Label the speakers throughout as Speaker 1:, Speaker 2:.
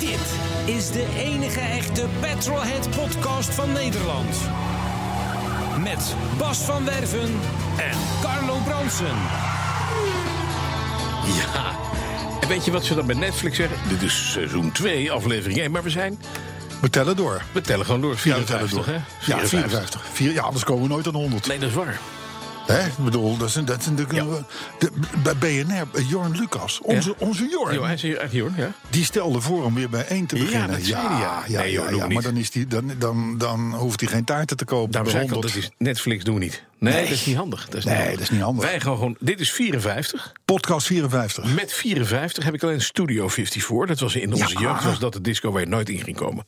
Speaker 1: Dit is de enige echte Petrolhead podcast van Nederland. Met Bas van Werven en Carlo Bronsen.
Speaker 2: Ja. En weet je wat ze dan bij Netflix zeggen? Dit is seizoen 2, aflevering 1. Maar we zijn,
Speaker 3: We tellen door.
Speaker 2: we tellen gewoon door.
Speaker 3: Ja, we tellen
Speaker 2: 54, hè?
Speaker 3: Ja, 54. Vier, ja, anders komen we nooit aan 100.
Speaker 2: Nee, dat is waar.
Speaker 3: Hè? Ik bedoel, dat is, dat is natuurlijk... de- bij BNR, eh, Jorn Lucas, onze, onze Jorn,
Speaker 2: Jo, hij is hier echt hier, hoor, ja.
Speaker 3: die stelde voor om weer bijeen te
Speaker 2: Ja,
Speaker 3: beginnen.
Speaker 2: dat zei hij, ja.
Speaker 3: ja, ja,
Speaker 2: Nee, joh,
Speaker 3: ja,
Speaker 2: doe
Speaker 3: ja,
Speaker 2: niet.
Speaker 3: maar dan, is die, dan, dan, dan hoeft hij geen taarten te kopen.
Speaker 2: Daarom
Speaker 3: bij
Speaker 2: zei ik al, dat
Speaker 3: 100.
Speaker 2: is Netflix doen we niet. Nee, dat is niet handig. Dat is
Speaker 3: Nee, dat is niet handig.
Speaker 2: Wij gaan gewoon, dit is 54.
Speaker 3: Podcast 54.
Speaker 2: Met 54 heb ik alleen Studio 54. Dat was in onze
Speaker 3: Ja.
Speaker 2: jeugd, was dat de disco waar je nooit in ging komen.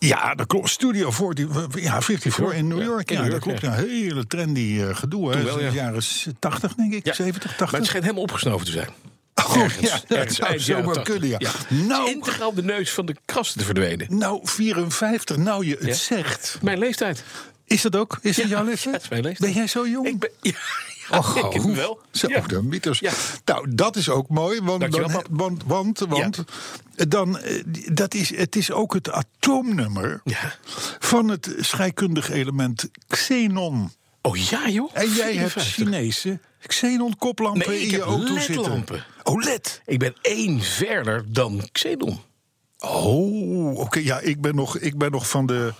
Speaker 3: Ja, dat klopt. Studio 40, ja, 54 in New
Speaker 2: Ja,
Speaker 3: York.
Speaker 2: in
Speaker 3: Ja,
Speaker 2: New
Speaker 3: dat
Speaker 2: York,
Speaker 3: klopt.
Speaker 2: ja.
Speaker 3: Ja, hele trendy eh, gedoe. hè.
Speaker 2: wel,
Speaker 3: Sinds
Speaker 2: ja.
Speaker 3: jaren s- 80, denk ik. 70, 80.
Speaker 2: Maar het schijnt helemaal opgesnoven te zijn.
Speaker 3: Oh,
Speaker 2: Ergens,
Speaker 3: ja, dat
Speaker 2: ergens
Speaker 3: zou
Speaker 2: eind jaren
Speaker 3: zomaar
Speaker 2: 80.
Speaker 3: kunnen, ja.
Speaker 2: Het is
Speaker 3: Nou,
Speaker 2: Integraal de neus van de kasten te verdwenen.
Speaker 3: nou, 54, nou je het
Speaker 2: Ja.
Speaker 3: zegt.
Speaker 2: Mijn leeftijd.
Speaker 3: Is dat ook? Is dat
Speaker 2: Ja,
Speaker 3: jouw
Speaker 2: ja, dat
Speaker 3: leeftijd?
Speaker 2: is mijn leeftijd.
Speaker 3: Ben jij zo jong?
Speaker 2: Ik ben, ja,
Speaker 3: Och,
Speaker 2: ik
Speaker 3: hoe-
Speaker 2: wel.
Speaker 3: Zo,
Speaker 2: Ja.
Speaker 3: de mythes.
Speaker 2: Ja.
Speaker 3: Nou, dat is ook mooi. Want,
Speaker 2: Dankjewel,
Speaker 3: dan,
Speaker 2: pap.
Speaker 3: want, want, want dan, eh, dat is, het is ook het atoomnummer
Speaker 2: Ja.
Speaker 3: van het scheikundig element xenon.
Speaker 2: Oh ja, joh.
Speaker 3: En jij hebt
Speaker 2: 54.
Speaker 3: Chinese xenon-koplampen
Speaker 2: Nee, ik
Speaker 3: in je
Speaker 2: heb
Speaker 3: auto zitten. Oh,
Speaker 2: LED-lampen.
Speaker 3: OLED.
Speaker 2: Ik ben één verder dan Xenon.
Speaker 3: Oh, oké. Ja, ik ben nog, ik ben nog van de...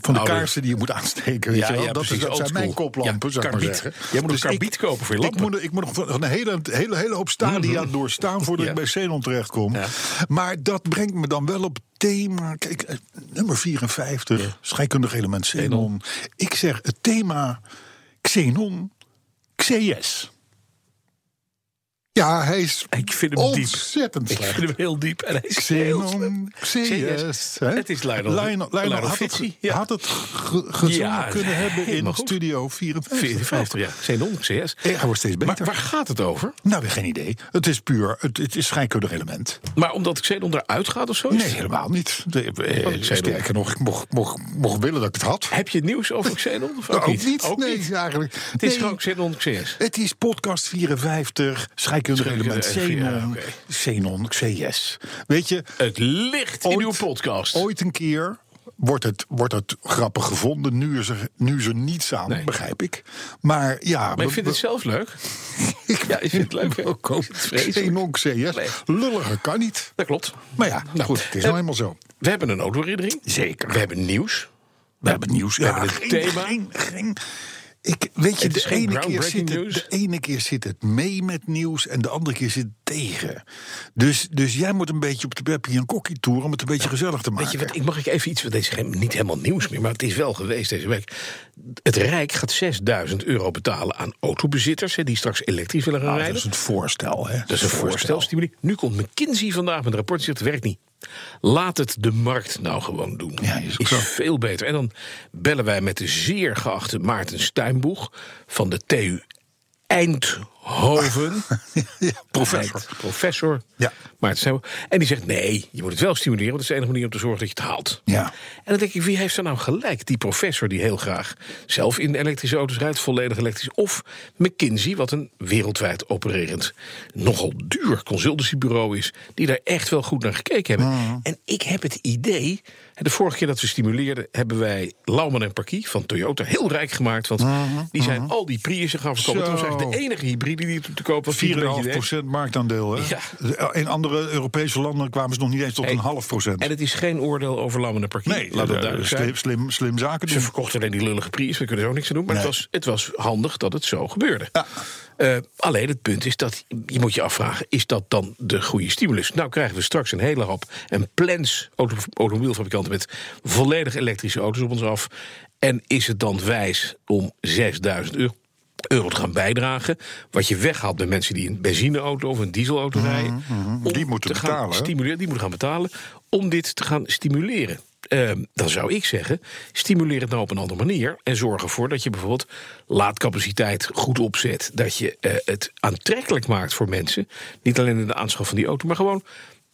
Speaker 3: Van de
Speaker 2: Oude-
Speaker 3: kaarsen die je moet aansteken. Weet
Speaker 2: Ja,
Speaker 3: je wel?
Speaker 2: ja,
Speaker 3: dat, is-
Speaker 2: precies,
Speaker 3: dat zijn
Speaker 2: oldschool.
Speaker 3: mijn koplampen,
Speaker 2: Ja,
Speaker 3: zou ik maar
Speaker 2: karbiet.
Speaker 3: zeggen. Dus
Speaker 2: Jij moet een karbiet
Speaker 3: ik-
Speaker 2: kopen voor je
Speaker 3: Ik
Speaker 2: lampen. Mhm.
Speaker 3: moet, er- ik moet nog van- van een hele, hele, hele hoop stadia doorstaan voordat
Speaker 2: Ja.
Speaker 3: ik bij Xenon terechtkom.
Speaker 2: Ja.
Speaker 3: Maar dat brengt me dan wel op het thema. Kijk, eh, nummer 54, scheikundig element Xenon. Ik zeg het thema Xenon XS. Ja, hij is
Speaker 2: Ik vind hem diep.
Speaker 3: ontzettend
Speaker 2: Ik
Speaker 3: slecht.
Speaker 2: vind hem heel diep. En hij is heel
Speaker 3: Xenon,
Speaker 2: Xenos.
Speaker 3: Xenos. hè?
Speaker 2: Het is Lionel-
Speaker 3: Lionel,
Speaker 2: Lionel
Speaker 3: had het,
Speaker 2: Fitzy,
Speaker 3: ge-
Speaker 2: ja.
Speaker 3: had het ge- gezongen
Speaker 2: Ja,
Speaker 3: kunnen hebben in
Speaker 2: helemaal goed.
Speaker 3: Studio 54.
Speaker 2: 54, ja. Xenon, CS.
Speaker 3: Eh, Hij wordt steeds
Speaker 2: Maar
Speaker 3: beter.
Speaker 2: waar gaat het over?
Speaker 3: Nou, weer geen idee. Het is puur, het, het is scheikundig element.
Speaker 2: Maar omdat Xenon eruit gaat of zo? Oh, is
Speaker 3: Nee,
Speaker 2: het?
Speaker 3: helemaal niet. De, eh,
Speaker 2: Wat ik zei
Speaker 3: sterker nog, ik mocht, mocht, mocht willen dat ik het had.
Speaker 2: Heb je nieuws over Xenon? Of ook,
Speaker 3: ook Nou, niet,
Speaker 2: Ook
Speaker 3: nee,
Speaker 2: niet.
Speaker 3: eigenlijk.
Speaker 2: Het is
Speaker 3: Nee,
Speaker 2: gewoon Xenon, CS.
Speaker 3: het is podcast 54, scheikundig
Speaker 2: Scheikundig,
Speaker 3: element,
Speaker 2: eh, ja,
Speaker 3: Xenon,
Speaker 2: oké. Eh,
Speaker 3: Xenon, XS. Weet je,
Speaker 2: Het ligt in
Speaker 3: Ooit-
Speaker 2: uw podcast.
Speaker 3: ooit een keer wordt het, wordt het grappig gevonden. Nu is, er, nu is er niets aan,
Speaker 2: Nee.
Speaker 3: begrijp ik. Maar ja,
Speaker 2: Maar
Speaker 3: we-
Speaker 2: ik vind het
Speaker 3: we-
Speaker 2: zelf leuk.
Speaker 3: ik
Speaker 2: Ja, ik vind het leuk. hè?
Speaker 3: ook ook
Speaker 2: Ik vind het vreselijk.
Speaker 3: Oh, Xenon, XS. Lulliger kan niet.
Speaker 2: Dat klopt.
Speaker 3: Maar ja,
Speaker 2: Nou,
Speaker 3: goed, het is
Speaker 2: eh,
Speaker 3: nou eenmaal zo.
Speaker 2: We hebben een autoherinnering.
Speaker 3: Zeker.
Speaker 2: We hebben nieuws.
Speaker 3: We hebben het nieuws. Ja,
Speaker 2: hebben het
Speaker 3: geen,
Speaker 2: thema.
Speaker 3: Geen, geen- ik, weet je,
Speaker 2: Het is
Speaker 3: de
Speaker 2: geen
Speaker 3: ene, keer
Speaker 2: groundbreaking
Speaker 3: zit het,
Speaker 2: nieuws.
Speaker 3: de ene keer zit het mee met nieuws en de andere keer zit het tegen. Dus, dus jij moet een beetje op de Beppie en Kokkie toeren om het een beetje gezellig te
Speaker 2: Weet
Speaker 3: maken.
Speaker 2: je wat, ik mag ik even iets, want deze is niet helemaal nieuws meer, maar het is wel geweest deze week. Het Rijk gaat 6000 euro betalen aan autobezitters hè, die straks elektrisch willen gaan
Speaker 3: Nou, dat
Speaker 2: rijden.
Speaker 3: is een voorstel, hè?
Speaker 2: Dat is een voorstelstimulie. Nu komt McKinsey vandaag met een rapport die zegt, het werkt niet. Laat het de markt nou gewoon doen.
Speaker 3: Ja, is ook zo.
Speaker 2: veel beter. En dan bellen wij met de zeer geachte Maarten Stijnboeg van de TU Eindhoven.
Speaker 3: Ja, professor.
Speaker 2: Eind- Professor
Speaker 3: Ja.
Speaker 2: Maarten Stijnboeg. En die zegt, nee, je moet het wel stimuleren... want dat is de enige manier om te zorgen dat je het haalt.
Speaker 3: Ja.
Speaker 2: En dan denk ik, wie heeft er nou gelijk? Die professor die heel graag zelf in elektrische auto's rijdt, volledig elektrisch. Of McKinsey, wat een wereldwijd opererend, nogal duur consultancybureau is, die daar echt wel goed naar gekeken hebben.
Speaker 3: Mm.
Speaker 2: En ik heb het idee, hè, de vorige keer dat we stimuleerden, hebben wij Lauman en Parkie van Toyota heel rijk gemaakt. Want die zijn al die Priussen gaan verkopen.
Speaker 3: Mm-hmm, Zo.
Speaker 2: Het was eigenlijk de enige hybride die te koop was. die een beetje deed.
Speaker 3: 4,5% marktaandeel, hè? In andere Europese landen kwamen ze nog niet eens tot een half procent.
Speaker 2: En het is geen oordeel over Lauman en Parkie.
Speaker 3: Nee,
Speaker 2: laat dat
Speaker 3: eh,
Speaker 2: duidelijk zijn.
Speaker 3: slim, slim, slim zaken
Speaker 2: Ze
Speaker 3: doen.
Speaker 2: verkochten alleen die lullige prijs, we kunnen er ook niks aan doen. Maar het,
Speaker 3: Nee.
Speaker 2: was, het was handig dat het zo gebeurde.
Speaker 3: Ja.
Speaker 2: Eh, alleen het punt is dat je moet je afvragen: is dat dan de goede stimulus? Nou krijgen we straks een hele hap en plans auto, automobielfabrikanten met volledig elektrische auto's op ons af. En is het dan wijs om 6000 euro euro te gaan bijdragen. Wat je weghaalt bij mensen die een benzineauto of een dieselauto
Speaker 3: Mhm,
Speaker 2: rijden. om
Speaker 3: Die moeten
Speaker 2: te gaan
Speaker 3: betalen, hè?
Speaker 2: Stimuleren, die moeten gaan betalen om dit te gaan stimuleren. Ehm, dan zou ik zeggen, stimuleer het nou op een andere manier. En zorg ervoor dat je bijvoorbeeld laadcapaciteit goed opzet. Dat je eh, het aantrekkelijk maakt voor mensen. Niet alleen in de aanschaf van die auto, maar gewoon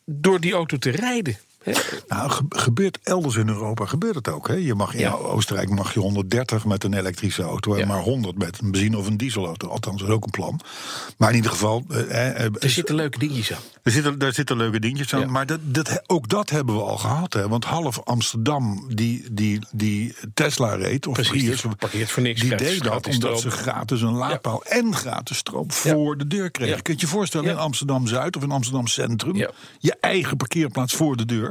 Speaker 2: door die auto te rijden. Hè?
Speaker 3: Nou, ge- gebeurt elders in Europa gebeurt het ook. Hè? Je mag in
Speaker 2: Ja.
Speaker 3: Oostenrijk mag je 130 met een elektrische auto en
Speaker 2: Ja.
Speaker 3: maar 100 met een benzine of een dieselauto. Althans, dat is ook een plan. Maar in ieder geval, eh, eh, eh,
Speaker 2: Er zitten leuke dingetjes aan.
Speaker 3: er zitten, daar zitten leuke dingetjes aan.
Speaker 2: Ja.
Speaker 3: Maar dat, dat, ook dat hebben we al gehad. Hè? Want half Amsterdam die, die, die Tesla reed, of
Speaker 2: Precies,
Speaker 3: Prius,
Speaker 2: die parkeert voor niks,
Speaker 3: die
Speaker 2: krijgt
Speaker 3: deed dat
Speaker 2: gratis
Speaker 3: omdat ze
Speaker 2: stroom.
Speaker 3: gratis een laadpaal en gratis stroom voor de deur kregen.
Speaker 2: Ja.
Speaker 3: Kun je je voorstellen
Speaker 2: Ja.
Speaker 3: in Amsterdam Zuid of in Amsterdam Centrum?
Speaker 2: Ja. Mhm.
Speaker 3: Je eigen parkeerplaats voor de deur.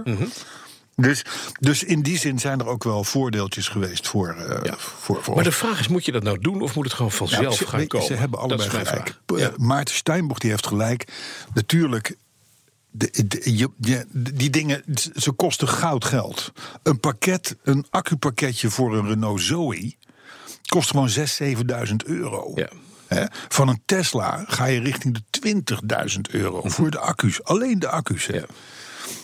Speaker 3: Dus, dus in die zin zijn er ook wel voordeeltjes geweest voor, eh,
Speaker 2: Ja.
Speaker 3: voor, voor
Speaker 2: Maar de vraag is, moet je dat nou doen of moet het gewoon
Speaker 3: ja,
Speaker 2: vanzelf
Speaker 3: ze,
Speaker 2: gaan
Speaker 3: weet je,
Speaker 2: komen?
Speaker 3: Ze hebben allebei
Speaker 2: dat is mijn
Speaker 3: gelijk.
Speaker 2: vraag. Ja.
Speaker 3: Eh, Maarten Steinbock die heeft gelijk. Natuurlijk, de, de- je- je- die dingen, ze- ze kosten goud geld. Een pakket, een accupakketje voor een Renault Zoe... kost gewoon 6.000, 7.000 euro.
Speaker 2: Ja.
Speaker 3: Hè? Van een Tesla ga je richting de 20.000 euro voor de accu's. Alleen de accu's. hè.
Speaker 2: Mhm. Ja.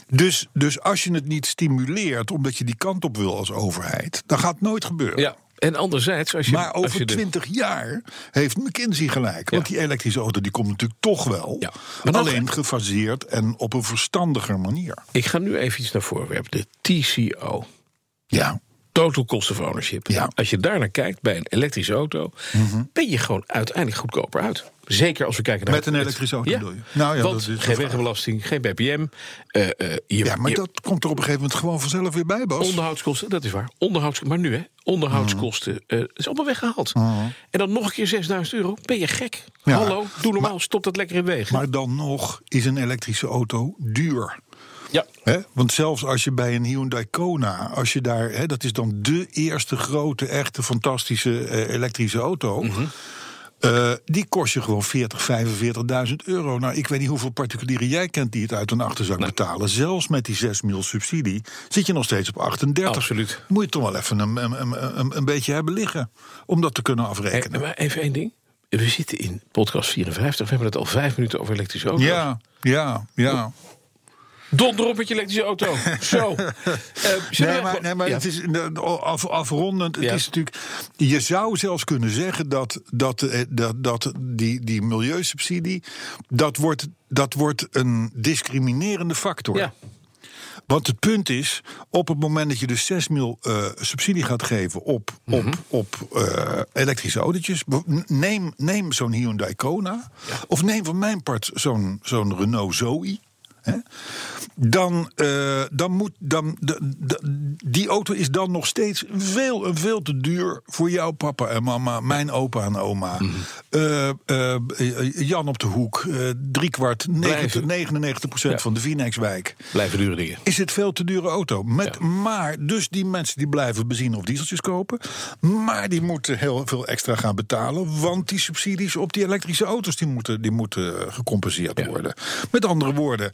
Speaker 3: Dus, dus als je het niet stimuleert omdat je die kant op wil als overheid... dan gaat het nooit gebeuren.
Speaker 2: Ja, en anderzijds, als je.
Speaker 3: Maar
Speaker 2: als je
Speaker 3: over
Speaker 2: de-
Speaker 3: 20 jaar heeft McKinsey gelijk. Want
Speaker 2: Ja.
Speaker 3: die elektrische auto die komt natuurlijk toch wel.
Speaker 2: Ja. Maar dan-
Speaker 3: alleen gefaseerd en op een verstandiger manier.
Speaker 2: Ik ga nu even iets naar voren werpen. De TCO.
Speaker 3: Ja.
Speaker 2: Total Cost of Ownership.
Speaker 3: Ja. Mhm.
Speaker 2: Als je daar naar kijkt bij een elektrische auto, ben je gewoon uiteindelijk goedkoper uit. Zeker als we kijken naar.
Speaker 3: Met een
Speaker 2: het-
Speaker 3: elektrische auto
Speaker 2: ja.
Speaker 3: bedoel je? Nou ja,
Speaker 2: Want
Speaker 3: dat is de
Speaker 2: geen
Speaker 3: vraag.
Speaker 2: wegenbelasting, geen BPM. eh, eh, je,
Speaker 3: ja, maar
Speaker 2: je-
Speaker 3: dat komt er op een gegeven moment gewoon vanzelf weer bij, Bas.
Speaker 2: Onderhoudskosten, dat is waar. Onderhouds, maar nu, hè?
Speaker 3: Mhm.
Speaker 2: Onderhoudskosten. eh is allemaal weggehaald. En dan nog een keer 6000 euro. Ben je gek?
Speaker 3: Ja.
Speaker 2: Hallo, doe normaal. stop dat lekker in wegen.
Speaker 3: Maar dan nog is een elektrische auto duur.
Speaker 2: ja.
Speaker 3: Hè? Want zelfs als je bij een Hyundai Kona, als je daar, hè, dat is dan de eerste grote, echte, fantastische eh, elektrische auto. eh, die kost je gewoon 40, 45.000 euro. Nou, ik weet niet hoeveel particulieren jij kent die het uit hun achterzak betalen. Zelfs met die 6 mil subsidie zit je nog steeds op 38.
Speaker 2: Absoluut.
Speaker 3: Moet je toch wel even een, een, een, een, een beetje hebben liggen om dat te kunnen
Speaker 2: Hey,
Speaker 3: afrekenen.
Speaker 2: Eh, maar even één ding. We zitten in podcast 54. We hebben het al vijf minuten over elektrische auto's.
Speaker 3: Ja, ja, ja.
Speaker 2: Donder op met je elektrische auto. Zo. Eh, zullen
Speaker 3: Nee,
Speaker 2: we-
Speaker 3: maar, nee, maar
Speaker 2: Ja.
Speaker 3: het is eh, af, afrondend. Het
Speaker 2: Ja.
Speaker 3: is natuurlijk. Je zou zelfs kunnen zeggen dat, dat, eh, dat, dat die, die milieusubsidie. Dat wordt, dat wordt een discriminerende factor.
Speaker 2: Ja.
Speaker 3: Want het punt is, op het moment dat je dus 6 mil eh, subsidie gaat geven op, op, op eh, elektrische autootjes, be- neem, neem zo'n Hyundai Kona, of neem van mijn part zo'n zo'n Renault Zoe. Hè? Dan, eh, dan moet dan, de- de- die auto is dan nog steeds veel en veel te duur voor jouw papa en mama, mijn opa en oma, eh, eh, eh, Jan op de hoek, eh driekwart, 90, 99
Speaker 2: Ja.
Speaker 3: van de Vinex-wijk
Speaker 2: Blijven dure dingen.
Speaker 3: is het veel te dure auto. Met,
Speaker 2: Ja.
Speaker 3: Maar dus die mensen die blijven benzine of dieseltjes kopen. Maar die moeten heel veel extra gaan betalen. Want die subsidies op die elektrische auto's die moeten, die moeten eh, gecompenseerd worden. Met andere woorden,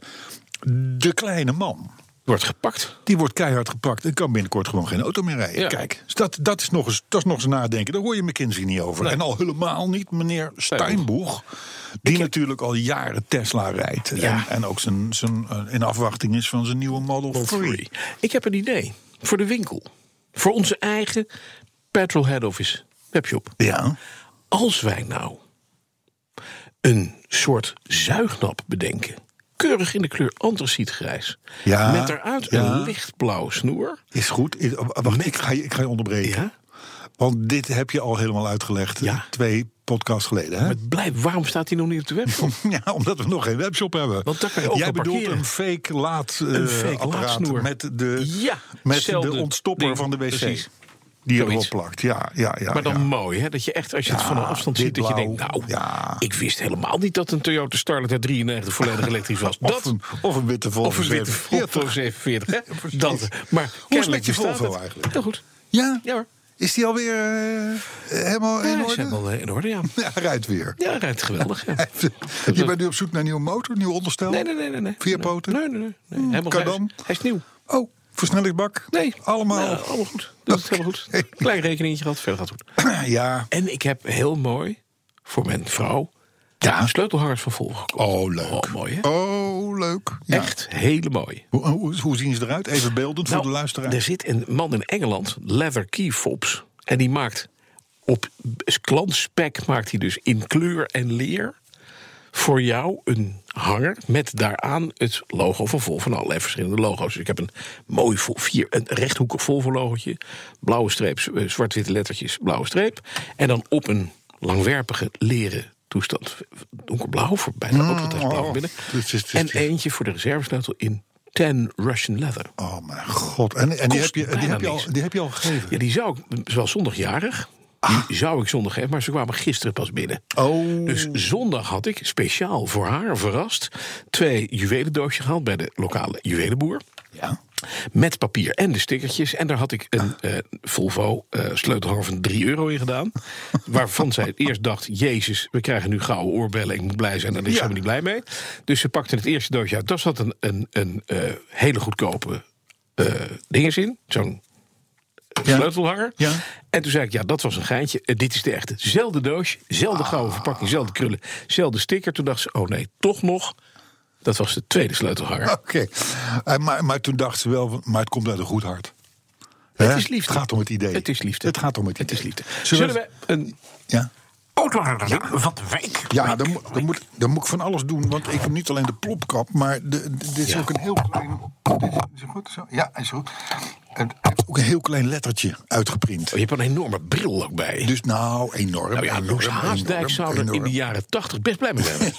Speaker 3: de kleine man.
Speaker 2: Wordt gepakt.
Speaker 3: Die wordt keihard gepakt en kan binnenkort gewoon geen auto meer rijden.
Speaker 2: Ja.
Speaker 3: Kijk, dus dat, dat, is nog eens, dat is nog eens nadenken. Daar hoor je McKinsey niet over. En al helemaal niet meneer Steinboeg. Die natuurlijk al jaren Tesla rijdt.
Speaker 2: Ja.
Speaker 3: En, en ook zijn, zijn, eh, in afwachting is van zijn nieuwe Model 3.
Speaker 2: Ik heb een idee. Voor de winkel. Voor onze eigen Petrol Head Office webshop.
Speaker 3: Ja.
Speaker 2: Als wij nou een soort zuignap bedenken. Keurig in de kleur antracietgrijs.
Speaker 3: Ja,
Speaker 2: Met daaruit
Speaker 3: ja.
Speaker 2: een lichtblauwe snoer.
Speaker 3: Is goed. Is- Wacht, ik ga, je- ik ga je onderbreken.
Speaker 2: Ja.
Speaker 3: Want dit heb je al helemaal uitgelegd. eh,
Speaker 2: Ja.
Speaker 3: Twee podcasts geleden. Hè?
Speaker 2: Het blijft, waarom staat die nog niet op de webshop?
Speaker 3: Ja, omdat we nog geen webshop hebben.
Speaker 2: Want daar kan je ook
Speaker 3: Jij
Speaker 2: wel
Speaker 3: bedoelt
Speaker 2: parkeren.
Speaker 3: een fake laad eh,
Speaker 2: Een fake
Speaker 3: apparaat
Speaker 2: laadsnoer.
Speaker 3: met de,
Speaker 2: Ja,
Speaker 3: met de
Speaker 2: hetzelfde
Speaker 3: ontstopper
Speaker 2: ding.
Speaker 3: van de wc.
Speaker 2: Precies.
Speaker 3: Die
Speaker 2: Zoiets.
Speaker 3: erop plakt. Ja, ja, ja.
Speaker 2: Maar dan
Speaker 3: ja.
Speaker 2: mooi, hè? Dat je echt, als je het van een afstand
Speaker 3: dit
Speaker 2: ziet, dat je denkt...
Speaker 3: blauw,
Speaker 2: nou,
Speaker 3: ja.
Speaker 2: ik wist helemaal niet dat een Toyota Starlet uit 93 volledig elektrisch was.
Speaker 3: Of
Speaker 2: Dat,
Speaker 3: een, of een witte Volvo
Speaker 2: of een witte
Speaker 3: 47.
Speaker 2: Volvo 47, hè?
Speaker 3: precies.
Speaker 2: Dat. Maar
Speaker 3: Hoe is het met
Speaker 2: kennelijk
Speaker 3: je
Speaker 2: bestaat
Speaker 3: Volvo
Speaker 2: het.
Speaker 3: eigenlijk?
Speaker 2: Heel goed.
Speaker 3: Ja?
Speaker 2: Ja hoor.
Speaker 3: Is die alweer eh, helemaal
Speaker 2: Ja,
Speaker 3: in
Speaker 2: is
Speaker 3: orde?
Speaker 2: helemaal eh, in orde, ja.
Speaker 3: Ja, hij rijdt weer.
Speaker 2: Ja, hij rijdt geweldig, ja.
Speaker 3: Je bent nu op zoek naar een nieuwe motor, nieuw onderstel?
Speaker 2: Nee, nee, nee, nee. nee.
Speaker 3: Vier poten? Hmm,
Speaker 2: Nee, nee, nee. nee. Helemaal
Speaker 3: kan
Speaker 2: hij is-
Speaker 3: dan?
Speaker 2: Hij is nieuw.
Speaker 3: Oh, versnellingsbak?
Speaker 2: Nee.
Speaker 3: Allemaal?
Speaker 2: Ja, allemaal goed. Dat is helemaal goed.
Speaker 3: Oké.
Speaker 2: Nou. Klein rekeningetje gehad, verder gaat het goed.
Speaker 3: Ja,
Speaker 2: En ik heb heel mooi voor mijn vrouw
Speaker 3: Ja.
Speaker 2: een sleutelhangers van Volvo gekocht.
Speaker 3: Oh, leuk.
Speaker 2: Oh, mooi, hè?
Speaker 3: Oh, leuk. Ja.
Speaker 2: Echt Nou, hele mooi.
Speaker 3: Hoe, hoe, hoe zien ze eruit? Even beeldend voor de luisteraar.
Speaker 2: Er zit een man in Engeland, Leather Key Fobs. En die maakt op klantspec maakt hij dus in kleur en leer voor jou een hanger met daaraan het logo van Volvo. Van allerlei verschillende logo's. Dus ik heb een mooi vol- vier, een rechthoekig Volvo logootje. Blauwe streep, z- eh, zwart-witte lettertjes, blauwe streep. En dan op een langwerpige leren toestand. Donkerblauw, voor bijna mm, blauw
Speaker 3: oh.
Speaker 2: binnen.
Speaker 3: Dit is- dit
Speaker 2: en
Speaker 3: is-
Speaker 2: eentje voor de reservesleutel in tan Russian leather.
Speaker 3: Oh, mijn god. En, en die,
Speaker 2: Kost
Speaker 3: heb je, die,
Speaker 2: bijna
Speaker 3: heb je
Speaker 2: niks.
Speaker 3: al, die heb je al gegeven.
Speaker 2: Ja, die zou ik, ze was zondagjarig. Die zou ik zondag hebben, maar ze kwamen gisteren pas binnen.
Speaker 3: Ah. Oh.
Speaker 2: Dus zondag had ik speciaal voor haar verrast twee juwelendoosjes gehaald bij de lokale juwelenboer.
Speaker 3: Ja. Ah.
Speaker 2: Met papier en de stickertjes. En daar had ik een eh Volvo eh sleutelhanger van 3 euro in gedaan. Waarvan zij eerst dacht: Jezus, we krijgen nu gouden oorbellen. Ik moet blij zijn. Daar is ze
Speaker 3: Ja.
Speaker 2: helemaal niet blij mee. Dus ze pakte het eerste doosje uit. Daar zat een, een, een eh, hele goedkope eh dinges in. Zo'n
Speaker 3: Ja.
Speaker 2: sleutelhanger.
Speaker 3: Ja.
Speaker 2: En toen zei ik, ja, dat was een geintje. Eh, dit is de echte. Zelfde doosje, zelfde
Speaker 3: Ah.
Speaker 2: gouden verpakking, zelfde krullen, zelfde sticker. Toen dacht ze, oh nee, toch nog. Dat was de tweede sleutelhanger.
Speaker 3: Oké. Eh, Maar, maar toen dacht ze wel, maar het komt uit een goed hart. Hè?
Speaker 2: Het is liefde.
Speaker 3: Het gaat om het idee.
Speaker 2: Het is liefde.
Speaker 3: Het gaat om het idee.
Speaker 2: is liefde.
Speaker 3: Zullen
Speaker 2: Zullen,
Speaker 3: we-
Speaker 2: we een
Speaker 3: Ja.
Speaker 2: auto gaan ja. Wat wijk.
Speaker 3: Ja, dan, mo- dan, moet, dan moet ik van alles doen. Want ik heb niet alleen de plopkap, maar de, de- dit is
Speaker 2: Ja.
Speaker 3: ook een heel klein... Dit is, is het goed? Zo? Ja, is goed. En ook een heel klein lettertje uitgeprint.
Speaker 2: Je hebt een enorme bril ook bij.
Speaker 3: Dus nou, enorm.
Speaker 2: nou ja, Loes
Speaker 3: enorm,
Speaker 2: Haasdijk
Speaker 3: enorm,
Speaker 2: zou er in
Speaker 3: enorm.
Speaker 2: de jaren tachtig best blij mee zijn.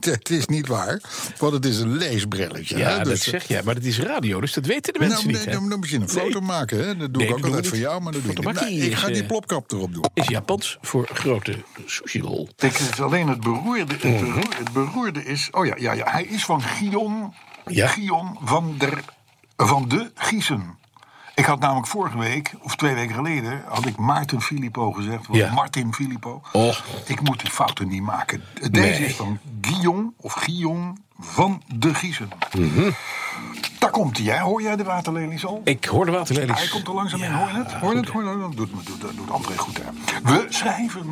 Speaker 3: Het is niet waar, want het is een leesbrilletje.
Speaker 2: Ja,
Speaker 3: hè?
Speaker 2: dat
Speaker 3: Dus-
Speaker 2: zeg jij. Maar dat is radio, dus dat weten de mensen
Speaker 3: Nou,
Speaker 2: niet.
Speaker 3: nee,
Speaker 2: hè?
Speaker 3: dan, dan moet je een foto
Speaker 2: Nee.
Speaker 3: maken. Hè? Dat doe
Speaker 2: Nee,
Speaker 3: ik ook
Speaker 2: dat doen we
Speaker 3: altijd voor
Speaker 2: niet.
Speaker 3: jou, maar dat doe ik
Speaker 2: Foto
Speaker 3: niet.
Speaker 2: maak je
Speaker 3: Nou, ik
Speaker 2: is,
Speaker 3: ga die
Speaker 2: eh,
Speaker 3: plopkap erop doen.
Speaker 2: Is Japans voor grote sushirol.
Speaker 3: Ik het alleen het beroerde. Het
Speaker 2: Mhm.
Speaker 3: beroerde, het beroerde is. Oh ja, ja, ja, hij is van Gion.
Speaker 2: Ja.
Speaker 3: Gion van, der, van de Giesen. Ik had namelijk vorige week, of twee weken geleden, had ik Maarten Filippo gezegd. want
Speaker 2: Ja.
Speaker 3: Martin Filippo.
Speaker 2: Och.
Speaker 3: Ik moet die fouten niet maken. Deze
Speaker 2: Nee.
Speaker 3: is van Gion of Gion van de Giesen.
Speaker 2: Mhm.
Speaker 3: Daar komt hij, hè? hoor jij de waterlelies al?
Speaker 2: Ik hoorde waterlelies.
Speaker 3: Hij komt er langzaam in,
Speaker 2: Ja,
Speaker 3: hoor je het? Hoor je het? Hoor je het? Dat doet, doet, dat doet André goed, hè? We schrijven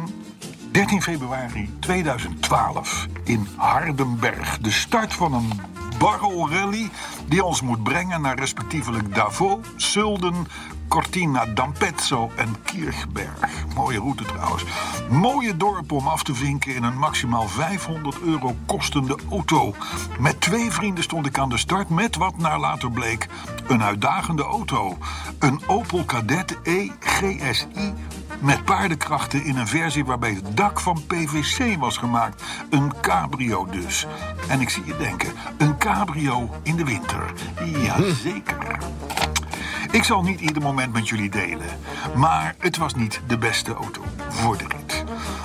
Speaker 3: 13 februari 2012 in Hardenberg. De start van een barrelrally die ons moet brengen naar respectievelijk Davos, Zulden, Cortina d'Ampezzo en Kirchberg. Mooie route trouwens. Mooie dorpen om af te vinken in een maximaal 500 euro kostende auto. Met twee vrienden stond ik aan de start met wat naar later bleek een uitdagende auto. Een Opel Kadett E GSI met paardenkrachten in een versie waarbij het dak van PVC was gemaakt. Een cabrio dus. En ik zie je denken, een cabrio in de winter. Jazeker. Ik zal niet ieder moment met jullie delen, maar het was niet de beste auto voor de rit.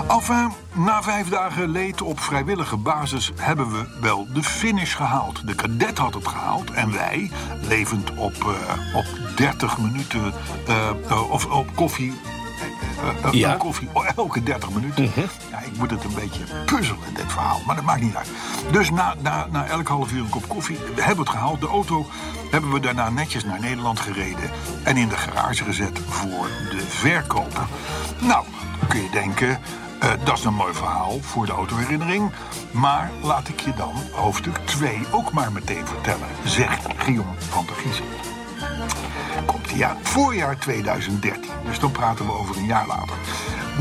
Speaker 3: Enfin, na vijf dagen leed op vrijwillige basis hebben we wel de finish gehaald. De kadet had het gehaald en wij, levend op, eh, op 30 minuten eh, eh, of op koffie. eh, eh,
Speaker 2: Ja.
Speaker 3: een koffie, oh, elke 30 minuten. Ja, ik moet het een beetje puzzelen, dit verhaal. Maar dat maakt niet uit. Dus na, na, na elk half uur een kop koffie we hebben we het gehaald. De auto hebben we daarna netjes naar Nederland gereden. En in de garage gezet voor de verkoop. Nou, kun je denken, eh, dat is een mooi verhaal voor de autoherinnering. Maar laat ik je dan hoofdstuk 2 ook maar meteen vertellen. Zegt Guillaume van der Giezen komt hij ja, Voorjaar 2013. Dus dan praten we over een jaar later.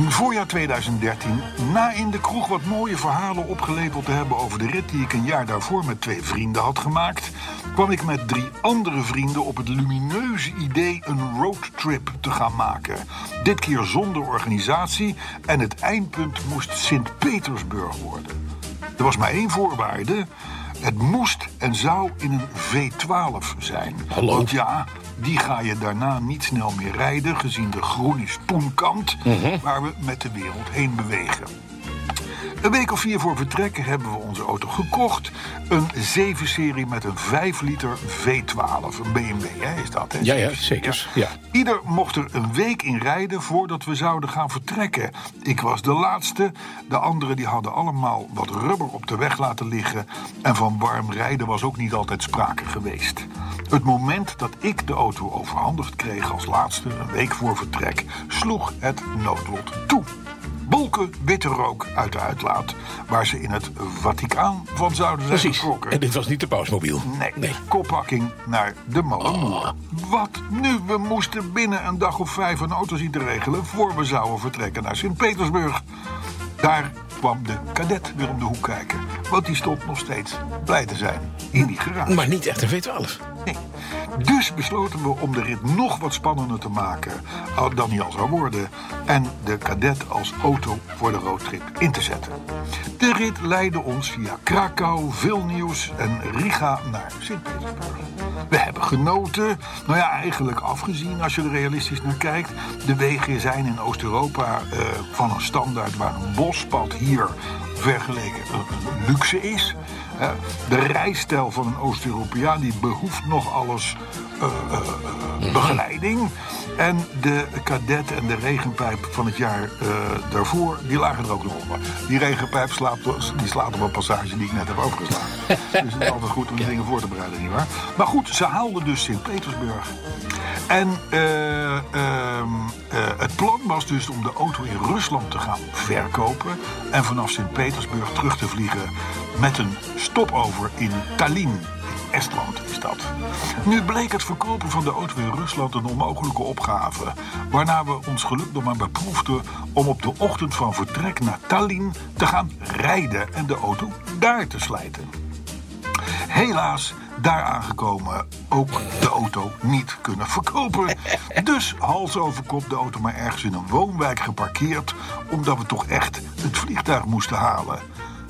Speaker 3: Voorjaar 2013, na in de kroeg wat mooie verhalen opgeleverd te hebben over de rit die ik een jaar daarvoor met twee vrienden had gemaakt, kwam ik met drie andere vrienden op het lumineuze idee een roadtrip te gaan maken. Dit keer zonder organisatie en het eindpunt moest Sint-Petersburg worden. Er was maar één voorwaarde. Het moest en zou in een V12 zijn.
Speaker 2: Hallo.
Speaker 3: Want ja, die ga je daarna niet snel meer rijden... gezien de groene spoenkant
Speaker 2: Mhm.
Speaker 3: waar we met de wereld heen bewegen. Een week of vier voor vertrekken hebben we onze auto gekocht. Een 7-serie met een 5-liter V12. Een BMW, hè, is dat, hè?
Speaker 2: Ja, ja, zeker. Ja.
Speaker 3: Ieder mocht er een week in rijden voordat we zouden gaan vertrekken. Ik was de laatste. De anderen die hadden allemaal wat rubber op de weg laten liggen. En van warm rijden was ook niet altijd sprake geweest. Het moment dat ik de auto overhandigd kreeg als laatste, een week voor vertrek, sloeg het noodlot toe. Bol roken witte rook uit de uitlaat. Waar ze in het Vaticaan van zouden zijn
Speaker 2: Precies.
Speaker 3: geschrokken.
Speaker 2: En dit was niet de pausmobiel.
Speaker 3: Nee, kophakking naar de molenmoer. Wat nu? We moesten binnen een dag of vijf een auto zien te regelen... voor we zouden vertrekken naar Sint-Petersburg. Daar kwam de kadet weer om de hoek kijken. Want die stond nog steeds blij te zijn in die garage.
Speaker 2: Maar niet echt een V12.
Speaker 3: Nee. Dus besloten we om de rit nog wat spannender te maken al- dan die al zou worden. En de kadet als auto voor de roadtrip in te zetten. De rit leidde ons via Krakau, Vilnius en Riga naar Sint-Petersburg. We hebben genoten, nou ja, eigenlijk afgezien als je er realistisch naar kijkt. De wegen zijn in Oost-Europa eh, van een standaard waar een bospad hier vergeleken een luxe is. Hè, De rijstijl van een Oost-Europeaan die behoeft nog alles eh, eh, eh, begeleiding. En de kadet en de regenpijp van het jaar eh, daarvoor, die lagen er ook nog onder. Die regenpijp slaat, die slaat op een passage die ik net heb overgeslagen. dus het is altijd goed om die dingen voor te bereiden, nietwaar? Maar goed, ze haalden dus Sint-Petersburg. En eh, ehm, eh, het plan was dus om de auto in Rusland te gaan verkopen... en vanaf Sint-Petersburg terug te vliegen met een stopover in Tallinn. Estland is dat. Nu bleek het verkopen van de auto in Rusland een onmogelijke opgave. Waarna we ons geluk nog maar beproefden om op de ochtend van vertrek naar Tallinn te gaan rijden en de auto daar te slijten. Helaas, daar aangekomen ook de auto niet kunnen verkopen. Dus hals over kop de auto maar ergens in een woonwijk geparkeerd, omdat we toch echt het vliegtuig moesten halen.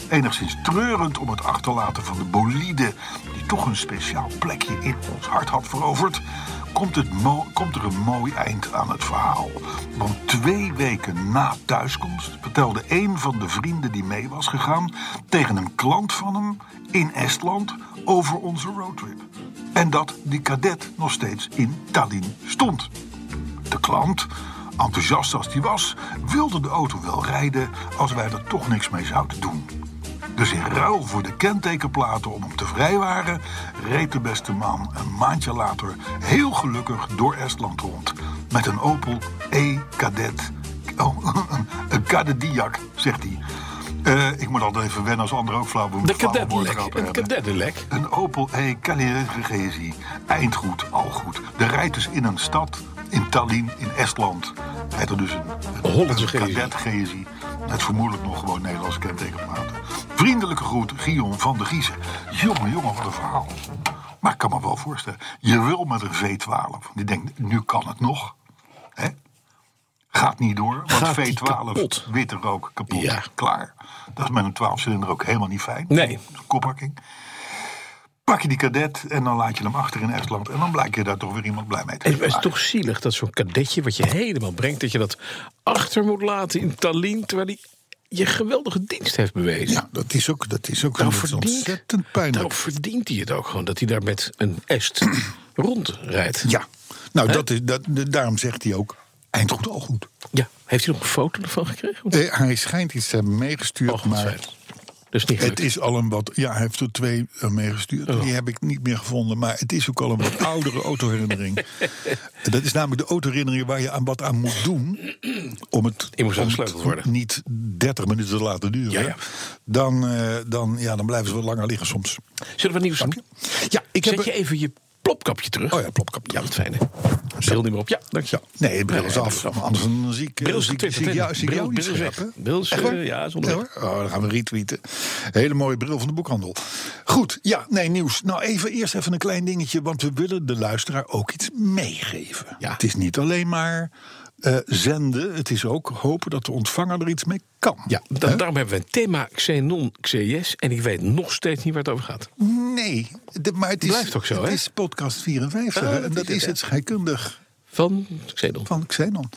Speaker 3: Enigszins treurend om het achterlaten van de bolide, die toch een speciaal plekje in ons hart had veroverd, komt, het mo- komt er een mooi eind aan het verhaal. Want twee weken na thuiskomst vertelde een van de vrienden die mee was gegaan tegen een klant van hem in Estland over onze roadtrip. En dat die kadet nog steeds in Tallinn stond. De klant, enthousiast als die was, wilde de auto wel rijden als wij er toch niks mee zouden doen. Dus in ruil voor de kentekenplaten om hem te vrijwaren, reed de beste man een maandje later heel gelukkig door Estland rond met een Opel E-Kadet. Oh, een kadediak, zegt hij. Eh, ik moet altijd even wennen als anderen ook flauw
Speaker 2: De
Speaker 3: flauwe
Speaker 2: kadettenlek.
Speaker 3: woordgrappen
Speaker 2: Een
Speaker 3: hebben.
Speaker 2: kadettenlek.
Speaker 3: Een Opel E Caligesi. Eindgoed, al goed. De rijdt dus in een stad, in Tallinn, in Estland. Rijdt er dus een, een,
Speaker 2: Hollandse
Speaker 3: een
Speaker 2: GSI.
Speaker 3: cadet GSI. Met vermoedelijk nog gewoon Nederlandse kentekenplaten. Vriendelijke groet, Gion van de Giezen. Jongen, jongen, wat een verhaal. Maar ik kan me wel voorstellen. Je wil met een V12. Die denkt, nu kan het nog. Hè? Gaat niet door, want
Speaker 2: Gaat die
Speaker 3: V12,
Speaker 2: kapot?
Speaker 3: witte rook, kapot,
Speaker 2: Ja.
Speaker 3: klaar. Dat is met een 12-cilinder ook helemaal niet fijn.
Speaker 2: Nee.
Speaker 3: Kophakking pak je die kadet en dan laat je hem achter in Estland. En dan blijkt je daar toch weer iemand blij mee te
Speaker 2: En het
Speaker 3: zijn.
Speaker 2: is toch zielig dat zo'n kadetje wat je helemaal brengt... dat je dat achter moet laten in Tallinn... terwijl hij je geweldige dienst heeft bewezen.
Speaker 3: Ja, dat is ook, dat is ook
Speaker 2: Daarom
Speaker 3: dat is ontzettend
Speaker 2: daarom
Speaker 3: pijnlijk.
Speaker 2: verdient hij het ook gewoon... dat hij daar met een est rondrijdt.
Speaker 3: Ja, nou, dat is, dat, daarom zegt hij ook, eind goed, al goed.
Speaker 2: Ja. Heeft hij nog een foto ervan gekregen?
Speaker 3: Eh, hij schijnt iets te hebben meegestuurd,
Speaker 2: Oh, God,
Speaker 3: maar...
Speaker 2: fijn. Dus niet
Speaker 3: Het
Speaker 2: gelukt.
Speaker 3: is al een wat. Ja, hij heeft er twee eh, meegestuurd.
Speaker 2: Oh.
Speaker 3: Die heb ik niet meer gevonden. Maar het is ook al een wat oudere autoherinnering. Dat is namelijk de autoherinnering waar je aan wat aan moet doen. om het,
Speaker 2: Je moest
Speaker 3: om
Speaker 2: aangesleuteld
Speaker 3: het
Speaker 2: worden.
Speaker 3: niet 30 minuten te laten duren.
Speaker 2: Ja, ja.
Speaker 3: Dan, eh, dan, ja, dan blijven ze wat langer liggen soms.
Speaker 2: Zullen we wat nieuws doen?
Speaker 3: Ja, ik
Speaker 2: Zet
Speaker 3: heb.
Speaker 2: je even je plopkapje terug?
Speaker 3: Oh ja, plopkap.
Speaker 2: Ja, wat fijn hè? Bril niet meer op. Ja, dankjewel.
Speaker 3: Nee, de bril
Speaker 2: Nee,
Speaker 3: is
Speaker 2: nee,
Speaker 3: af.
Speaker 2: bril is af.
Speaker 3: Anders dan zie ik, eh,
Speaker 2: Bril is
Speaker 3: zie ik-
Speaker 2: getwitterd,
Speaker 3: zie ik
Speaker 2: hè?
Speaker 3: jou, zie ik
Speaker 2: Bril-
Speaker 3: jou niet
Speaker 2: bril is weg.
Speaker 3: scherp, hè?
Speaker 2: Bril is,
Speaker 3: Echt waar?
Speaker 2: eh, ja, is onderweg.
Speaker 3: Nee, hoor. Oh, dan gaan we retweeten. Hele mooie bril van de boekhandel. Goed, ja, nee, nieuws. Nou, even eerst even een klein dingetje, want we willen de luisteraar ook iets meegeven.
Speaker 2: Ja.
Speaker 3: Het is niet alleen maar eh, zenden, het is ook hopen dat de ontvanger er iets mee kan.
Speaker 2: Ja, da-
Speaker 3: Hè?
Speaker 2: daarom hebben we een thema Xenon XES. En ik weet nog steeds niet waar het over gaat.
Speaker 3: Nee, de- maar het is,
Speaker 2: Blijft ook zo,
Speaker 3: het
Speaker 2: hè?
Speaker 3: is podcast 54
Speaker 2: Oh,
Speaker 3: hè,
Speaker 2: dat
Speaker 3: en
Speaker 2: is
Speaker 3: dat
Speaker 2: het,
Speaker 3: is
Speaker 2: ja.
Speaker 3: het scheikundig.
Speaker 2: Van Xenon.
Speaker 3: van Xenon.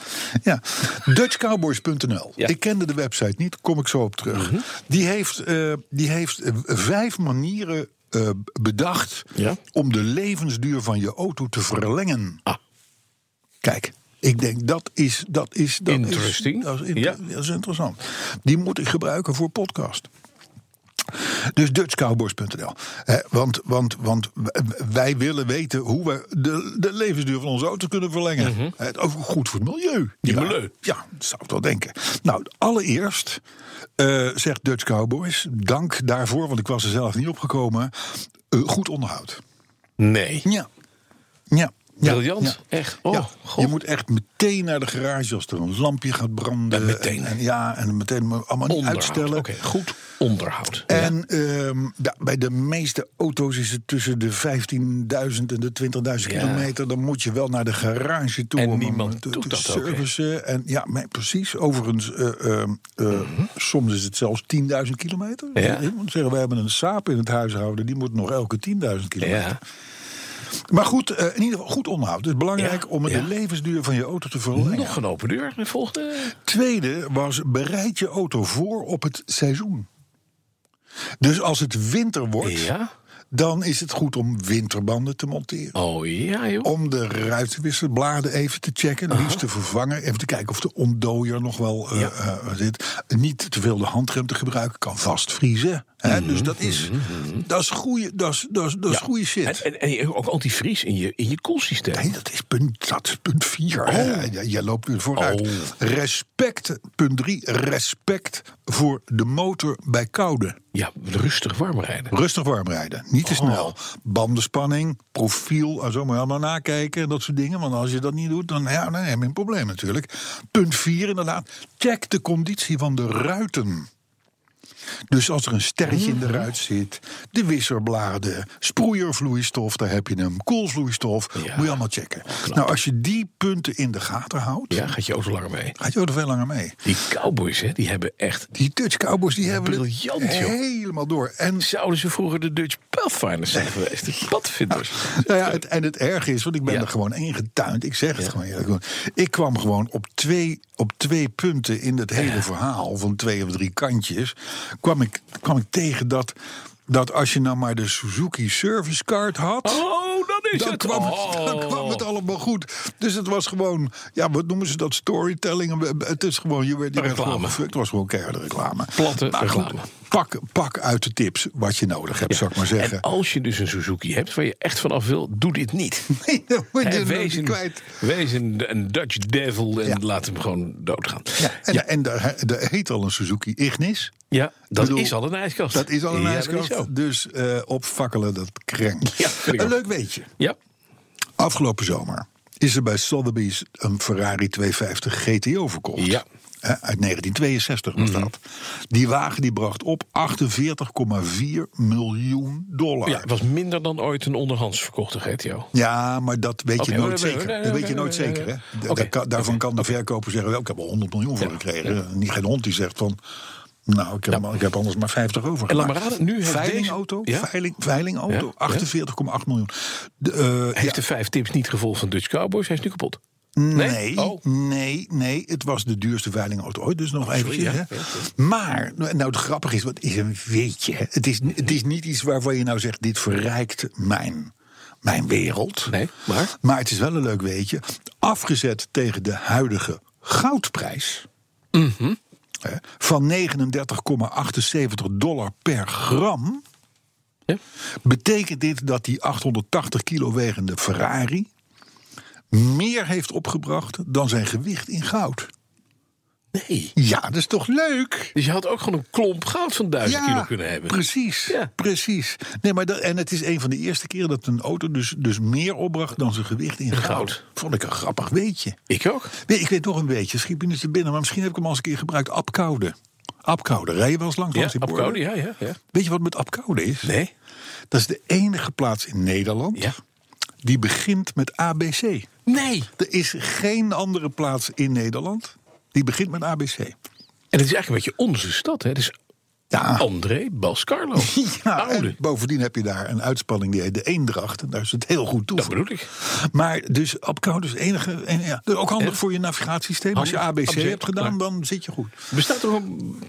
Speaker 3: Ja, DutchCowboys.nl.
Speaker 2: Ja. Mhm.
Speaker 3: Ik kende de website niet, kom ik zo op terug. Die heeft, eh, die heeft eh, vijf manieren eh, bedacht
Speaker 2: Ja.
Speaker 3: om de levensduur van je auto te verlengen.
Speaker 2: Ah.
Speaker 3: Kijk, ik denk dat is. Dat is dat
Speaker 2: Interesting.
Speaker 3: Is, dat, is inter-
Speaker 2: Ja.
Speaker 3: dat is interessant. Die moet ik gebruiken voor podcast. Dus dutchcowboys.nl. Hè, want, want, want wij willen weten hoe we de, de levensduur van onze auto kunnen verlengen. Hè, Het is ook goed voor het milieu. Ja,
Speaker 2: Mhm. milieu.
Speaker 3: Ja, dat zou ik wel denken. Nou, allereerst eh, zegt Dutch Cowboys, dank daarvoor, want ik was er zelf niet opgekomen. eh, goed onderhoud.
Speaker 2: Nee.
Speaker 3: Ja. Ja. ja.
Speaker 2: Briljant.
Speaker 3: Ja.
Speaker 2: Echt. Oh,
Speaker 3: Ja.
Speaker 2: god.
Speaker 3: Je moet echt meteen naar de garage als er een lampje gaat branden.
Speaker 2: En meteen.
Speaker 3: En, en ja, en meteen maar allemaal niet
Speaker 2: Onderhoud.
Speaker 3: uitstellen.
Speaker 2: Oké, goed onderhoud.
Speaker 3: En ehm, ja, bij de meeste auto's is het tussen de 15.000 en de 20.000
Speaker 2: Ja.
Speaker 3: kilometer. Dan moet je wel naar de garage toe
Speaker 2: En
Speaker 3: om
Speaker 2: niemand
Speaker 3: hem te,
Speaker 2: doet
Speaker 3: te
Speaker 2: dat ook, hè?
Speaker 3: servicen. En ja, maar precies. Overigens, eh, ehm, eh, soms is het zelfs 10.000 kilometer.
Speaker 2: Mhm. Ja.
Speaker 3: Ik moet zeggen, we hebben een saap in het huishouden. Die moet nog elke 10.000 kilometer.
Speaker 2: ja.
Speaker 3: Maar goed, eh, in ieder geval goed onderhoud. Het is belangrijk
Speaker 2: Ja,
Speaker 3: om
Speaker 2: ja.
Speaker 3: de levensduur van je auto te verlengen.
Speaker 2: Nog een open deur. De volgende.
Speaker 3: Tweede was bereid je auto voor op het seizoen. Dus als het winter wordt,
Speaker 2: Ja.
Speaker 3: dan is het goed om winterbanden te monteren.
Speaker 2: Oh ja, joh.
Speaker 3: Om de ruitenwisselbladen even te checken, liefst te vervangen. Even te kijken of de ontdooier nog wel eh,
Speaker 2: Ja.
Speaker 3: eh, zit. Niet te veel de handrem te gebruiken, kan vastvriezen. Hè? Dus dat is, dat is, goede, dat is, dat is, dat
Speaker 2: Mhm, Ja.
Speaker 3: is goede shit.
Speaker 2: En, en, en je- ook antivries in je, in je koelsysteem.
Speaker 3: Nee, dat is punt, dat is punt 4. Jij, jij loopt nu vooruit.
Speaker 2: Oh.
Speaker 3: Respect, punt 3. Respect voor de motor bij koude.
Speaker 2: Ja, rustig warm rijden.
Speaker 3: Rustig warm rijden, niet te
Speaker 2: Oh.
Speaker 3: snel. Bandenspanning, profiel, en zo maar allemaal nakijken, dat soort dingen. Want als je dat niet doet, dan, ja, dan heb je een probleem natuurlijk. Punt 4 inderdaad, check de conditie van de ruiten. Dus als er een sterretje in de
Speaker 2: Mhm.
Speaker 3: ruit zit, de wisserbladen, sproeiervloeistof, daar heb je hem, koelvloeistof, moet je allemaal checken. nou, als je die punten in de gaten houdt,
Speaker 2: Ja, gaat je auto langer mee.
Speaker 3: gaat je auto veel langer mee.
Speaker 2: Die cowboys, hè, die hebben echt...
Speaker 3: Die Dutch Cowboys, die hebben het
Speaker 2: briljant, joh.
Speaker 3: helemaal door. En
Speaker 2: Zouden ze vroeger de Dutch Pathfinders zijn geweest? De padvinders.
Speaker 3: Nou ja, het, en het erg is, want ik ben
Speaker 2: Ja.
Speaker 3: er gewoon ingetuind. Ik zeg het gewoon eerlijk. Ik kwam gewoon op twee, op twee punten in het hele verhaal, van twee of drie kantjes, kwam ik, kwam ik tegen dat, dat als je nou maar de Suzuki Service Card had.
Speaker 2: Oh, dat is
Speaker 3: Dan
Speaker 2: het.
Speaker 3: kwam, het, dan
Speaker 2: Oh.
Speaker 3: kwam het allemaal goed. Dus het was gewoon, ja, wat noemen ze dat? Storytelling. Het is gewoon, je werd, je werd
Speaker 2: Reclame.
Speaker 3: gewoon gefuckt. Het was gewoon keiharde reclame.
Speaker 2: Platte
Speaker 3: Maar goed,
Speaker 2: reclame.
Speaker 3: pak, pak uit de tips wat je nodig hebt, zou ik maar zeggen.
Speaker 2: En als je dus een Suzuki hebt waar je echt vanaf wil, doe dit niet.
Speaker 3: Nee, dan moet je
Speaker 2: Hè,
Speaker 3: het nog
Speaker 2: wees,
Speaker 3: niet
Speaker 2: een,
Speaker 3: kwijt.
Speaker 2: wees een, een Dutch devil en
Speaker 3: Ja.
Speaker 2: laat hem gewoon doodgaan.
Speaker 3: Ja, en, en daar, daar heet al een Suzuki Ignis.
Speaker 2: Ja, dat
Speaker 3: bedoel,
Speaker 2: is al een ijskast.
Speaker 3: Dat is al een
Speaker 2: Ja, dat is
Speaker 3: ijskast.
Speaker 2: zo.
Speaker 3: Dus eh, opfakkelen dat krenk.
Speaker 2: Ja, vind ik
Speaker 3: een
Speaker 2: ook.
Speaker 3: leuk weetje.
Speaker 2: Ja.
Speaker 3: Afgelopen zomer is er bij Sotheby's een Ferrari 250 GTO verkocht.
Speaker 2: Ja. Mhm.
Speaker 3: Hè, uit 1962 was dat. Die wagen die bracht op 48,4 miljoen dollar.
Speaker 2: ja, het was minder dan ooit een onderhands verkochte GTO.
Speaker 3: Ja, maar dat weet
Speaker 2: Oké,
Speaker 3: je nooit
Speaker 2: nee, nee,
Speaker 3: zeker.
Speaker 2: nee,
Speaker 3: Dat weet
Speaker 2: nee,
Speaker 3: je nooit
Speaker 2: nee, nee,
Speaker 3: zeker. hè?
Speaker 2: nee.
Speaker 3: Da-
Speaker 2: Oké,
Speaker 3: daar kan- Daarvan kan de verkoper zeggen: wel, Ik heb er 100 miljoen voor
Speaker 2: Ja,
Speaker 3: gekregen. Niet geen hond die zegt van. Nou, ik heb, ik heb anders maar 50 over.
Speaker 2: En laat maar raden, nu heeft
Speaker 3: veilingauto,
Speaker 2: deze- ja?
Speaker 3: veiling, veilingauto,
Speaker 2: Ja, ja.
Speaker 3: 48,8 miljoen. De, eh,
Speaker 2: Heeft de vijf tips niet gevolgd van Dutch Cowboys? Hij is nu kapot.
Speaker 3: Nee,
Speaker 2: Oh.
Speaker 3: nee, nee. Het was de duurste veilingauto ooit, dus nog eventjes.
Speaker 2: ja.
Speaker 3: hè. Maar, nou het grappige is, wat is een weetje. hè. Het is, het is niet iets waarvan je nou zegt, dit verrijkt mijn, mijn wereld.
Speaker 2: Nee, maar?
Speaker 3: Maar het is wel een leuk weetje. Afgezet tegen de huidige goudprijs...
Speaker 2: Mhm.
Speaker 3: hè, van 39,78 dollar per gram...
Speaker 2: Ja.
Speaker 3: betekent dit dat die 880 kilo wegende Ferrari meer heeft opgebracht dan zijn gewicht in goud.
Speaker 2: Nee.
Speaker 3: Ja, dat is toch leuk?
Speaker 2: Dus je had ook gewoon een klomp goud van 1000 kilo kunnen hebben.
Speaker 3: precies.
Speaker 2: Ja.
Speaker 3: precies. Nee, maar dat, en het is een van de eerste keren dat een auto dus, dus meer opbracht dan zijn gewicht in goud.
Speaker 2: goud.
Speaker 3: Vond ik een grappig weetje.
Speaker 2: Ik ook.
Speaker 3: Nee, ik weet nog een beetje, schiet me nu te binnen, maar misschien heb ik hem al eens een keer gebruikt. Apkoude. Apkoude, rij je wel eens langs
Speaker 2: Ja,
Speaker 3: langs die borden?
Speaker 2: Apkoude, ja, ja, ja.
Speaker 3: Weet je wat met Apkoude is?
Speaker 2: Nee?
Speaker 3: Dat is de enige plaats in Nederland
Speaker 2: Ja.
Speaker 3: die begint met ABC.
Speaker 2: Nee.
Speaker 3: Er is geen andere plaats in Nederland die begint met ABC.
Speaker 2: En het is eigenlijk een beetje onze stad, hè? Het is Oh.
Speaker 3: Ja.
Speaker 2: André Bascarlo.
Speaker 3: Ja, en
Speaker 2: Oude.
Speaker 3: bovendien heb je daar een uitspanning die heet de Eendracht. En daar is het heel goed toe.
Speaker 2: Dat
Speaker 3: voor.
Speaker 2: bedoel ik.
Speaker 3: Maar dus Apkoude is het enige. En ja, dus ook handig voor je navigatiesysteem. Als je
Speaker 2: Handig.
Speaker 3: ABC
Speaker 2: ABC,
Speaker 3: hebt gedaan,
Speaker 2: klaar.
Speaker 3: dan zit je goed.
Speaker 2: Bestaat er nog een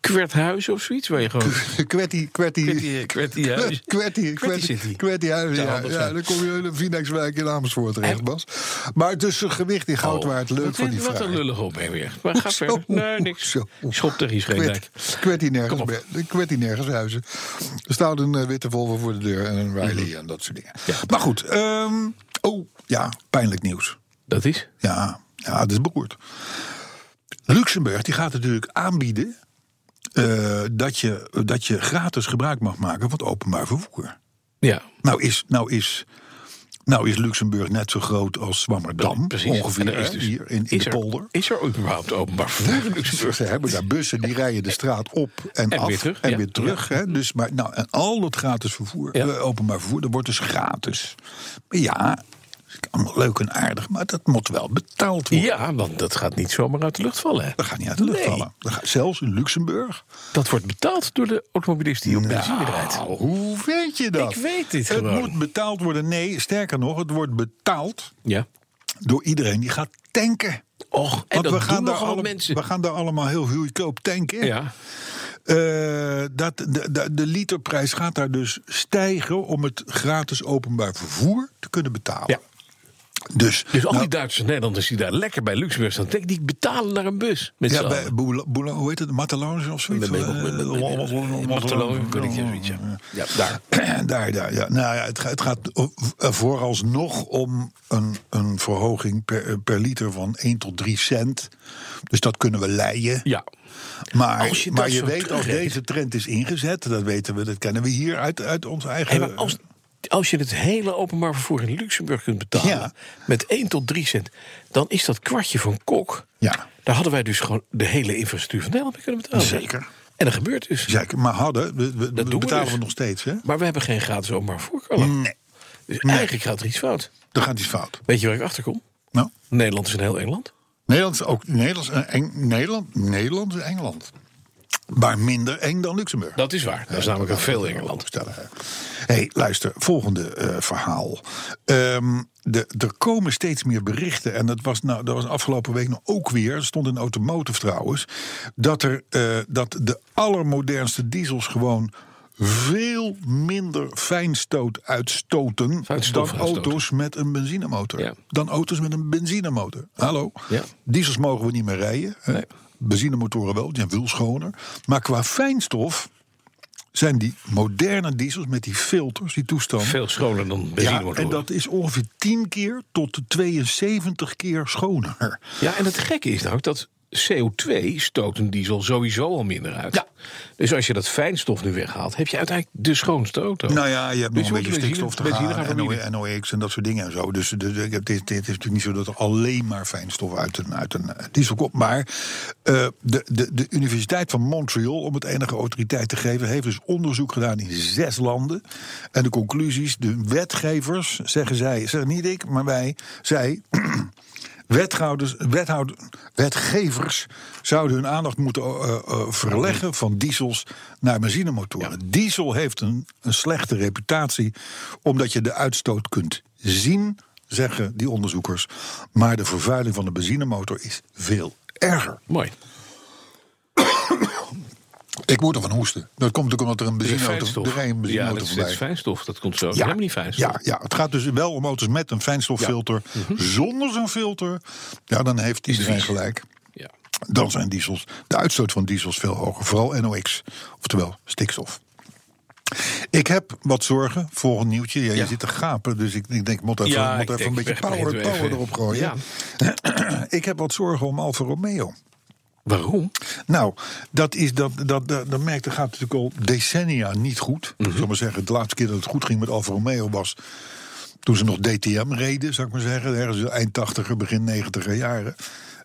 Speaker 2: Kwerthuis of zoets? Waar je gewoon.
Speaker 3: Kwertie, kwertie.
Speaker 2: Kwertie- Kwertiehuis.
Speaker 3: Kwertie,
Speaker 2: City.
Speaker 3: kwertie, kwertiehuis,
Speaker 2: Zou
Speaker 3: ja,
Speaker 2: handig
Speaker 3: ja,
Speaker 2: zijn.
Speaker 3: dan kom je in een Vinekswijk in Amersfoort terecht,
Speaker 2: En-
Speaker 3: Bas. Maar dus gewicht in goud
Speaker 2: Oh,
Speaker 3: waard, leuk
Speaker 2: wat
Speaker 3: van
Speaker 2: een-
Speaker 3: die
Speaker 2: Wat een
Speaker 3: vraag.
Speaker 2: lullig opmerking weer. Maar ga
Speaker 3: Zo.
Speaker 2: verder. Nee, niks.
Speaker 3: Zo.
Speaker 2: Schop tegen je schreendijk.
Speaker 3: Kwertie
Speaker 2: Kom
Speaker 3: nergens,
Speaker 2: op.
Speaker 3: be- kwertie nergens huizen. Er staat een eh, witte Volvo voor de deur en een Riley
Speaker 2: Mhm.
Speaker 3: en dat soort dingen. Maar goed, ehm, oh ja, pijnlijk nieuws.
Speaker 2: Dat is?
Speaker 3: Ja, ja, dat is beroerd. Luxemburg die gaat natuurlijk aanbieden eh, dat, je, dat je gratis gebruik mag maken van het openbaar vervoer.
Speaker 2: Ja.
Speaker 3: Nou is, nou is, nou is Luxemburg net zo groot als Zwammerdam. Ongeveer
Speaker 2: En er is
Speaker 3: hè,
Speaker 2: dus,
Speaker 3: hier in, in
Speaker 2: is er,
Speaker 3: de polder.
Speaker 2: Is er überhaupt openbaar vervoer in Luxemburg?
Speaker 3: Ze hebben daar bussen, die rijden de straat op en,
Speaker 2: En
Speaker 3: af
Speaker 2: weer terug,
Speaker 3: en
Speaker 2: ja.
Speaker 3: weer terug. Hè? Dus, maar, nou, en al dat gratis vervoer,
Speaker 2: Ja.
Speaker 3: eh, openbaar vervoer, dat wordt dus gratis. Maar ja, is allemaal leuk en aardig, maar dat moet wel betaald worden.
Speaker 2: Ja, want dat gaat niet zomaar uit de lucht vallen. Hè?
Speaker 3: Dat gaat niet uit de lucht
Speaker 2: Nee.
Speaker 3: vallen. Dat gaat, zelfs in Luxemburg.
Speaker 2: Dat wordt betaald door de automobilist die op benzine rijdt.
Speaker 3: Nou, hoe weet je dat?
Speaker 2: Ik weet dit
Speaker 3: het
Speaker 2: gewoon.
Speaker 3: moet betaald worden. Nee, sterker nog, het wordt betaald
Speaker 2: Ja.
Speaker 3: door iedereen die gaat tanken.
Speaker 2: Och, en
Speaker 3: Want
Speaker 2: dat
Speaker 3: we gaan,
Speaker 2: doen
Speaker 3: daar
Speaker 2: nogal wat
Speaker 3: alle-
Speaker 2: mensen.
Speaker 3: we gaan daar allemaal heel goedkoop tanken.
Speaker 2: Ja.
Speaker 3: Eh, dat, de, de, de literprijs gaat daar dus stijgen om het gratis openbaar vervoer te kunnen betalen.
Speaker 2: Ja.
Speaker 3: Dus,
Speaker 2: Dus al
Speaker 3: nou,
Speaker 2: die Duitsers en Nederlanders die daar lekker bij Luxemburg staan, denk ik, die betalen naar een bus. Met
Speaker 3: ja,
Speaker 2: z'n
Speaker 3: bij
Speaker 2: allen.
Speaker 3: Boula- Boula- hoe heet het? Mateloos of zoiets? Eh, Oh,
Speaker 2: Met- met- met- met- met- Mateloos, weet ik, ja, zoiets, ja. Ja, daar.
Speaker 3: daar, daar, ja. Nou ja, het, ga- het gaat eh, vooralsnog om een, een verhoging per, eh, per liter van 1 tot 3 cent. Dus dat kunnen we leien.
Speaker 2: Ja.
Speaker 3: Maar
Speaker 2: Als je
Speaker 3: maar
Speaker 2: dat
Speaker 3: je
Speaker 2: zo
Speaker 3: weet, als
Speaker 2: terugrekent-
Speaker 3: deze trend is ingezet, dat weten we, dat kennen we hier uit, uit ons eigen...
Speaker 2: Hey, maar als, als je het hele openbaar vervoer in Luxemburg kunt betalen
Speaker 3: Ja.
Speaker 2: met 1 tot 3 cent, dan is dat kwartje van kok.
Speaker 3: Ja.
Speaker 2: Daar hadden wij dus gewoon de hele infrastructuur van Nederland mee kunnen betalen.
Speaker 3: Zeker.
Speaker 2: En dat gebeurt dus.
Speaker 3: Zeker, maar hadden, we, we- we
Speaker 2: doen we
Speaker 3: betalen we,
Speaker 2: dus.
Speaker 3: nog steeds, hè?
Speaker 2: Maar we hebben geen gratis openbaar vervoer. Carla.
Speaker 3: Nee.
Speaker 2: Dus eigenlijk gaat er iets fout.
Speaker 3: Dan gaat iets fout.
Speaker 2: Weet je waar ik achter kom?
Speaker 3: Nou,
Speaker 2: Nederland is een heel Engeland.
Speaker 3: Nederland is ook Nederlands, eh, Eng- Nederland, Nederland is Engeland. Maar minder eng dan Luxemburg.
Speaker 2: Dat is waar. Dat is namelijk een veel Engeland.
Speaker 3: Stellen, hè. hey, luister, volgende eh, verhaal. Ehm, de, er komen steeds meer berichten, en dat was, nou, dat was afgelopen week nog ook weer, dat stond in Automotive trouwens, dat, er, eh, dat de allermodernste diesels gewoon veel minder fijnstoot uitstoten
Speaker 2: Fijnstof
Speaker 3: dan
Speaker 2: uitstoten.
Speaker 3: auto's met een benzinemotor.
Speaker 2: Ja.
Speaker 3: Dan auto's met een benzinemotor. Hallo?
Speaker 2: Ja.
Speaker 3: Diesels mogen we niet meer rijden. hè.
Speaker 2: Nee.
Speaker 3: Benzinemotoren wel, die zijn veel schoner. Maar qua fijnstof zijn die moderne diesels met die filters, die toestand.
Speaker 2: Veel schoner dan
Speaker 3: ja,
Speaker 2: benzine
Speaker 3: en dat is ongeveer 10 keer tot 72 keer schoner.
Speaker 2: Ja, en het gekke is nou ook dat CO2 stoot een diesel sowieso al minder uit.
Speaker 3: Ja.
Speaker 2: Dus als je dat fijnstof nu weghaalt, heb je uiteindelijk de schoonste auto.
Speaker 3: Nou ja, je hebt
Speaker 2: Dus je
Speaker 3: nog een
Speaker 2: moet
Speaker 3: beetje
Speaker 2: benzine-
Speaker 3: stikstof te
Speaker 2: benzine
Speaker 3: gaan.
Speaker 2: gaan verbieden.
Speaker 3: NO- NOx en dat soort dingen en zo. Dus de- de- het is, het is natuurlijk niet zo dat er alleen maar fijnstof uit een, uit een eh, diesel komt. Maar eh, de, de, de Universiteit van Montreal, om het enige autoriteit te geven, heeft dus onderzoek gedaan in zes landen. En de conclusies, de wetgevers, zeggen zij, zeggen niet ik, maar wij, zij. Wethouders, wethouder, wetgevers zouden hun aandacht moeten eh, eh, verleggen van diesels naar benzinemotoren. Diesel heeft een, een slechte reputatie omdat je de uitstoot kunt zien, zeggen die onderzoekers. Maar de vervuiling van de benzinemotor is veel erger.
Speaker 2: Mooi.
Speaker 3: Ik moet ervan hoesten. Dat komt natuurlijk omdat er een
Speaker 2: Dus
Speaker 3: benzinemotor,
Speaker 2: fijnstof.
Speaker 3: er rijdt een
Speaker 2: ja, dat
Speaker 3: benzinemotor
Speaker 2: is, dit is
Speaker 3: voorbij.
Speaker 2: fijnstof. Dat komt zo. Ja. Helemaal niet fijnstof. Mhm.
Speaker 3: Ja, ja, het gaat dus wel om auto's met een fijnstoffilter. Zonder zo'n filter, ja, dan heeft iedereen
Speaker 2: vies.
Speaker 3: gelijk.
Speaker 2: Ja.
Speaker 3: dan zijn diesels, de uitstoot van diesels veel hoger. Vooral NOx, oftewel stikstof. Ik heb wat zorgen, volgend nieuwtje. Ja, Je
Speaker 2: Ja.
Speaker 3: zit te gapen, dus ik, ik denk, ik moet even,
Speaker 2: Ja,
Speaker 3: moet
Speaker 2: ik
Speaker 3: even
Speaker 2: denk,
Speaker 3: een beetje
Speaker 2: weg met
Speaker 3: power,
Speaker 2: het even.
Speaker 3: power erop gooien. ik heb wat zorgen om Alfa Romeo.
Speaker 2: Waarom?
Speaker 3: Nou, dat is dat, dat, dat, dat merk, dat gaat natuurlijk al decennia niet goed.
Speaker 2: Mhm.
Speaker 3: Ik zou maar zeggen, de laatste keer dat het goed ging met Alfa Romeo was toen ze nog DTM reden, zou ik maar zeggen. Ergens eind 80er, begin 90er jaren.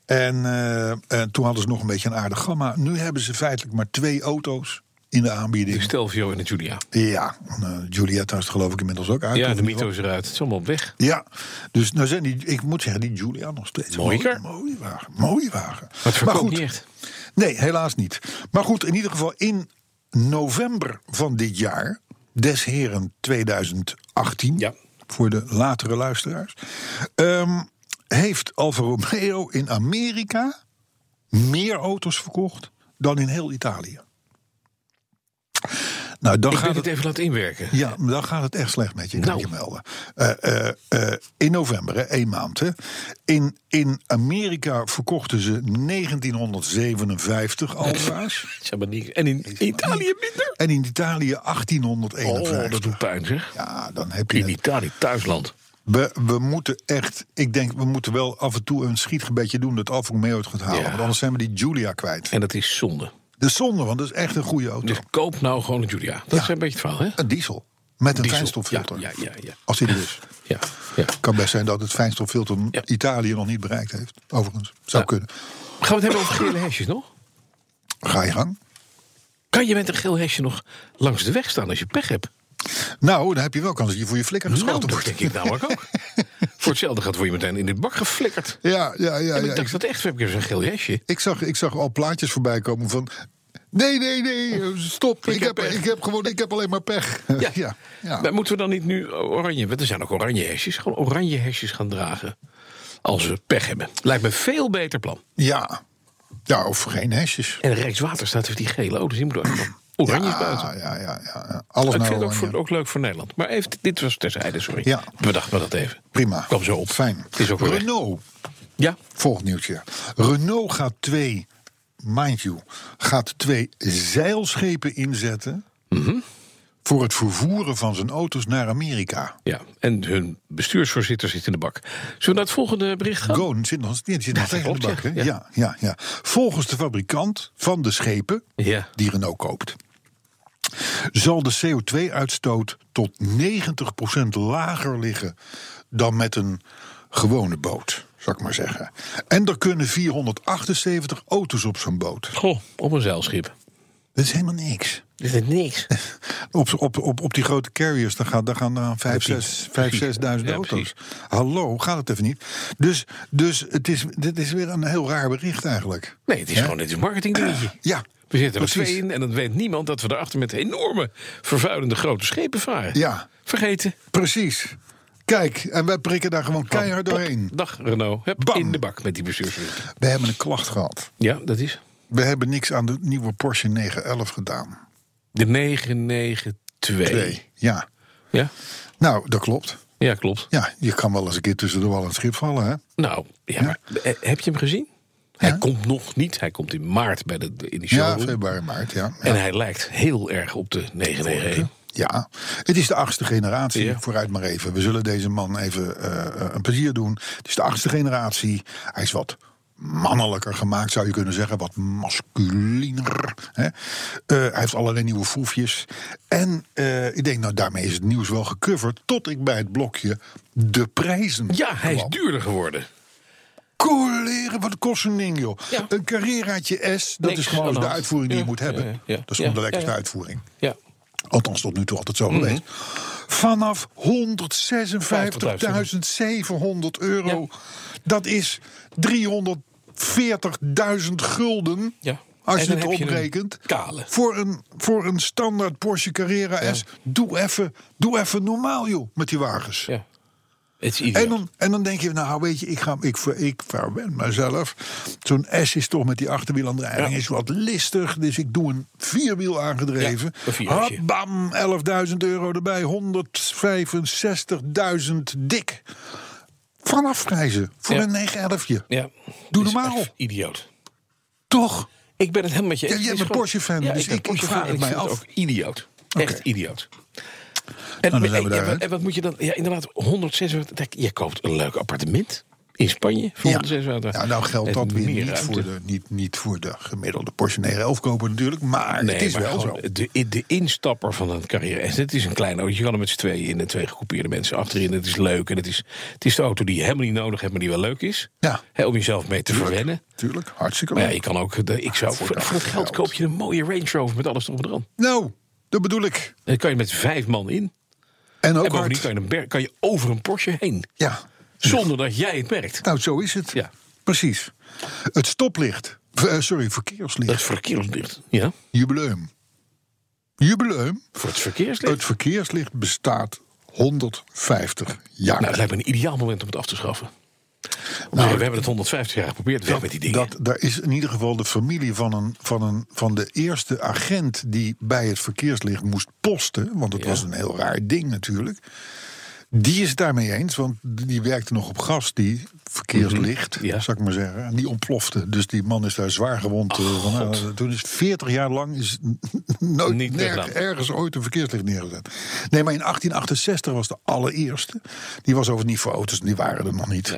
Speaker 3: En, eh, en toen hadden ze nog een beetje een aardig gamma. Nu hebben ze feitelijk maar twee auto's in de
Speaker 2: De
Speaker 3: aanbieding.
Speaker 2: Stelvio en de Julia.
Speaker 3: Ja, eh, Giulietta is er geloof ik inmiddels ook uit.
Speaker 2: Ja,
Speaker 3: of
Speaker 2: de
Speaker 3: in ieder
Speaker 2: Mito is eruit. Het is allemaal op weg.
Speaker 3: geval. Ja, dus nou zijn die, ik moet zeggen, die Giulia nog steeds. een
Speaker 2: Mooie
Speaker 3: mooie-
Speaker 2: kar.
Speaker 3: Mooie wagen, mooie wagen.
Speaker 2: Maar het verkoopt
Speaker 3: goed,
Speaker 2: niet echt.
Speaker 3: Nee, helaas niet. Maar goed, in ieder geval in november van dit jaar, des heren 2018,
Speaker 2: Ja.
Speaker 3: voor de latere luisteraars, ehm, heeft Alfa Romeo in Amerika meer auto's verkocht dan in heel Italië. Nou, dan
Speaker 2: Ik
Speaker 3: gaat
Speaker 2: ben
Speaker 3: het,
Speaker 2: het even laten inwerken.
Speaker 3: ja, maar dan gaat het echt slecht met je, kan
Speaker 2: Nou.
Speaker 3: ik je melden. Eh, eh, eh, in november, hè, één maand. Hè, in, in Amerika verkochten ze 1957 Alfa's.
Speaker 2: Zeg maar niet. En in Italië minder.
Speaker 3: en in Italië
Speaker 2: Oh,
Speaker 3: 1851.
Speaker 2: dat doet pijn zeg.
Speaker 3: Ja, dan heb je
Speaker 2: In
Speaker 3: het.
Speaker 2: Italië, thuisland.
Speaker 3: We, we moeten echt, ik denk, we moeten wel af en toe een schietgebedje doen dat Alfa Romeo het gaat halen.
Speaker 2: Ja.
Speaker 3: Want anders zijn we die Giulia kwijt.
Speaker 2: En dat is zonde.
Speaker 3: De zonde, want dat is echt een goede auto.
Speaker 2: Dus koop nou gewoon een Julia. Dat is een beetje het verhaal, hè?
Speaker 3: Een diesel. Met een
Speaker 2: Diesel.
Speaker 3: fijnstoffilter.
Speaker 2: Ja, ja, ja, ja.
Speaker 3: Als die er is.
Speaker 2: Ja, ja.
Speaker 3: kan best zijn dat het fijnstoffilter
Speaker 2: Ja.
Speaker 3: Italië nog niet bereikt heeft. Overigens. Zou
Speaker 2: Ja.
Speaker 3: kunnen.
Speaker 2: Gaan we het hebben over gele hesjes nog?
Speaker 3: Ga je gang.
Speaker 2: Kan je met een geel hesje nog langs de weg staan als je pech hebt?
Speaker 3: Nou, dan heb je wel kans dat je voor je flikker
Speaker 2: Nou,
Speaker 3: geschoten
Speaker 2: dat denk
Speaker 3: wordt.
Speaker 2: ik namelijk ook. Voor hetzelfde gaat word je meteen in de bak geflikkerd.
Speaker 3: Ja, ja, ja.
Speaker 2: En
Speaker 3: ja.
Speaker 2: ik dacht
Speaker 3: Ik,
Speaker 2: dat echt, heb ik eens een geel hesje.
Speaker 3: ik zag, ik zag al plaatjes voorbij komen van... Nee, nee, nee, stop. Ik,
Speaker 2: heb
Speaker 3: heb,
Speaker 2: pech.
Speaker 3: ik, heb gewoon, ik heb alleen maar pech. ja, ja.
Speaker 2: Maar moeten we dan niet nu oranje... Want er zijn ook oranje hesjes. Gewoon oranje hesjes gaan dragen. Als we pech hebben. Lijkt me veel beter plan.
Speaker 3: Ja. Ja, of geen hesjes.
Speaker 2: En Rijkswaterstaat heeft die gele. Oh, dus die moet ook nog oranje is buiten.
Speaker 3: Ja, ja, ja, ja. Alles
Speaker 2: ik vind
Speaker 3: naar
Speaker 2: het ook,
Speaker 3: oranje.
Speaker 2: voor, ook leuk voor Nederland. Maar even, dit was terzijde, sorry.
Speaker 3: Ja.
Speaker 2: Bedacht me dat even.
Speaker 3: Prima.
Speaker 2: Kwam zo op.
Speaker 3: Fijn.
Speaker 2: Het is ook weer weg.
Speaker 3: Renault.
Speaker 2: Ja.
Speaker 3: Volgend nieuwtje. Renault gaat twee, mind you, gaat twee zeilschepen inzetten.
Speaker 2: Mhm.
Speaker 3: voor het vervoeren van zijn auto's naar Amerika.
Speaker 2: ja. En hun bestuursvoorzitter zit in de bak. Zullen we naar het volgende bericht gaan?
Speaker 3: Go, die zit nog, die zit nog
Speaker 2: dat
Speaker 3: tegen de
Speaker 2: klopt,
Speaker 3: bak. hè?
Speaker 2: Oh. ja.
Speaker 3: Ja. Ja, ja, Volgens de fabrikant van de schepen
Speaker 2: Ja.
Speaker 3: die Renault koopt, zal de CO2-uitstoot tot 90% lager liggen dan met een gewone boot, zal ik maar zeggen. En er kunnen 478 auto's op zo'n boot.
Speaker 2: Goh, op een zeilschip.
Speaker 3: Dat is helemaal niks.
Speaker 2: Dit is niks.
Speaker 3: Op, op, op, op die grote carriers, daar gaan, daar gaan dan vijf,
Speaker 2: Precies.
Speaker 3: zes, vijf,
Speaker 2: Precies.
Speaker 3: zesduizend
Speaker 2: Ja,
Speaker 3: auto's. Hallo, gaat het even niet? Dus, dus het is, dit is weer een heel raar bericht eigenlijk.
Speaker 2: Nee, het is
Speaker 3: Hè?
Speaker 2: gewoon dit is een marketingdingetje.
Speaker 3: Ah, Ja,
Speaker 2: We zitten er
Speaker 3: precies.
Speaker 2: twee in en dan weet niemand dat we daarachter met enorme vervuilende grote schepen varen.
Speaker 3: Ja.
Speaker 2: Vergeten.
Speaker 3: Precies. Kijk, en wij prikken daar gewoon keihard
Speaker 2: Pop.
Speaker 3: doorheen.
Speaker 2: Dag Renault. Hup,
Speaker 3: Hm. Bam.
Speaker 2: In de bak met die bestuursvoorzitter.
Speaker 3: We hebben een klacht gehad.
Speaker 2: Ja, dat is.
Speaker 3: We hebben niks aan de nieuwe Porsche 911 gedaan.
Speaker 2: De 992.
Speaker 3: Ja.
Speaker 2: Ja?
Speaker 3: Nou, dat klopt.
Speaker 2: ja, klopt.
Speaker 3: Ja, je kan wel eens een keer tussen de wal en het schip vallen, hè?
Speaker 2: Nou, ja, maar eh, heb je hem gezien? Hij komt nog niet. Hij komt in maart bij de, in die
Speaker 3: Ja,
Speaker 2: showroom.
Speaker 3: februari, maart, ja.
Speaker 2: en hij lijkt heel erg op de 991.
Speaker 3: Ja, het is de achtste generatie.
Speaker 2: Ja.
Speaker 3: Vooruit maar even. We zullen deze man even eh, eh, een plezier doen. Het is de achtste generatie. Hij is wat mannelijker gemaakt, zou je kunnen zeggen. Wat masculiner. Hè? Eh, hij heeft allerlei nieuwe foefjes. En eh, ik denk, nou, daarmee is het nieuws wel gecoverd. Tot ik bij het blokje de prijzen
Speaker 2: Ja, hij is
Speaker 3: kwam.
Speaker 2: duurder geworden.
Speaker 3: Coleren, wat kost een ding, joh.
Speaker 2: Ja.
Speaker 3: Een Carreraatje S, dat
Speaker 2: Niks
Speaker 3: is
Speaker 2: aan
Speaker 3: gewoon
Speaker 2: de
Speaker 3: de
Speaker 2: hand.
Speaker 3: uitvoering die
Speaker 2: Ja,
Speaker 3: je moet
Speaker 2: ja,
Speaker 3: hebben.
Speaker 2: ja, ja.
Speaker 3: Dat is gewoon
Speaker 2: Ja,
Speaker 3: de lekkerste
Speaker 2: ja, ja.
Speaker 3: uitvoering.
Speaker 2: Ja.
Speaker 3: Althans, tot nu toe altijd zo geweest. Vanaf 156.700 euro. Dat is 340.000 gulden.
Speaker 2: Ja.
Speaker 3: Als
Speaker 2: En
Speaker 3: je
Speaker 2: dan
Speaker 3: het
Speaker 2: heb je een
Speaker 3: oprekent.
Speaker 2: kale.
Speaker 3: Voor een, voor een standaard Porsche Carrera S. Doe even doe even normaal, joh, met die wagens.
Speaker 2: ja. Het is ideaal.
Speaker 3: En dan, en dan denk je, nou weet je, ik, ga, ik, ver- ik verwen mezelf. Zo'n S is toch met die achterwielaandrijving
Speaker 2: Ja.
Speaker 3: is wat listig. Dus ik doe een vierwiel aangedreven.
Speaker 2: Ja, een vierwieltje.
Speaker 3: Hop, bam, 11.000 euro erbij. 165.000 dik. Vanaf prijzen voor
Speaker 2: Ja.
Speaker 3: een 911.
Speaker 2: ja.
Speaker 3: Doe
Speaker 2: Is
Speaker 3: normaal.
Speaker 2: echt Idioot.
Speaker 3: Toch?
Speaker 2: Ik ben het helemaal met je
Speaker 3: Ja, jij
Speaker 2: Het is
Speaker 3: bent
Speaker 2: gewoon-
Speaker 3: Porsche-fan, dus
Speaker 2: ben
Speaker 3: ik- ik
Speaker 2: Porsche-fan
Speaker 3: vraag
Speaker 2: en
Speaker 3: het mij
Speaker 2: vind
Speaker 3: af. Nou,
Speaker 2: ook idioot. Echt idioot. En,
Speaker 3: dan
Speaker 2: en-
Speaker 3: zijn we
Speaker 2: en-
Speaker 3: daar, hè?
Speaker 2: en wat moet je dan? Ja, inderdaad, 156. Kijk, Je koopt een leuk appartement in Spanje voor
Speaker 3: Ja.
Speaker 2: 156.
Speaker 3: Ja, nou geldt
Speaker 2: Met
Speaker 3: dat weer
Speaker 2: meer
Speaker 3: niet
Speaker 2: ruimte.
Speaker 3: voor, de, niet, niet voor de gemiddelde Porsche 911 koper natuurlijk. Maar
Speaker 2: Nee,
Speaker 3: het is
Speaker 2: maar
Speaker 3: wel zo.
Speaker 2: gewoon De, de instapper van een carrière. En het is een klein auto. Je kan er met z'n tweeën in en twee gecoupeerde mensen achterin. Het is leuk. En het is, het is de auto die je helemaal niet nodig hebt, maar die wel leuk is.
Speaker 3: Ja.
Speaker 2: Hè, om jezelf mee te verwennen.
Speaker 3: Tuurlijk, hartstikke
Speaker 2: Maar
Speaker 3: leuk.
Speaker 2: ja, je kan ook. De, ik zou, voor, voor het geld koop je een mooie Range Rover met alles erop en eraan.
Speaker 3: Nou, dat bedoel ik.
Speaker 2: En dan kan je met vijf man in.
Speaker 3: En ook
Speaker 2: en bovendien
Speaker 3: hard.
Speaker 2: kan je, een ber- kan je over een Porsche heen.
Speaker 3: Ja,
Speaker 2: Zonder dat jij het merkt.
Speaker 3: Nou, zo is het.
Speaker 2: Ja.
Speaker 3: Precies. Het stoplicht. V- eh, sorry, verkeerslicht.
Speaker 2: Dat is verkeerslicht. Ja,
Speaker 3: Jubileum. Jubileum.
Speaker 2: voor het verkeerslicht.
Speaker 3: Het verkeerslicht bestaat 150 jaar.
Speaker 2: Nou, het lijkt me een ideaal moment om het af te schaffen. Nou, we hebben het 150 jaar geprobeerd, weg met die dingen.
Speaker 3: Dat, daar is in ieder geval de familie van, een, van, een, van de eerste agent die bij het verkeerslicht moest posten. Want het was een heel raar ding natuurlijk. Die is het daarmee eens, want die werkte nog op gas, die verkeerslicht,
Speaker 2: Mhm, ja.
Speaker 3: zou ik maar zeggen. En die ontplofte. Dus die man is daar zwaar gewond. eh, van,
Speaker 2: God.
Speaker 3: eh, toen is 40 jaar lang is nooit
Speaker 2: Niet
Speaker 3: nerg-
Speaker 2: weggedaan.
Speaker 3: ergens ooit een verkeerslicht neergezet. Nee, maar in 1868 was de allereerste. Die was overigens niet voor auto's, dus die waren er nog niet.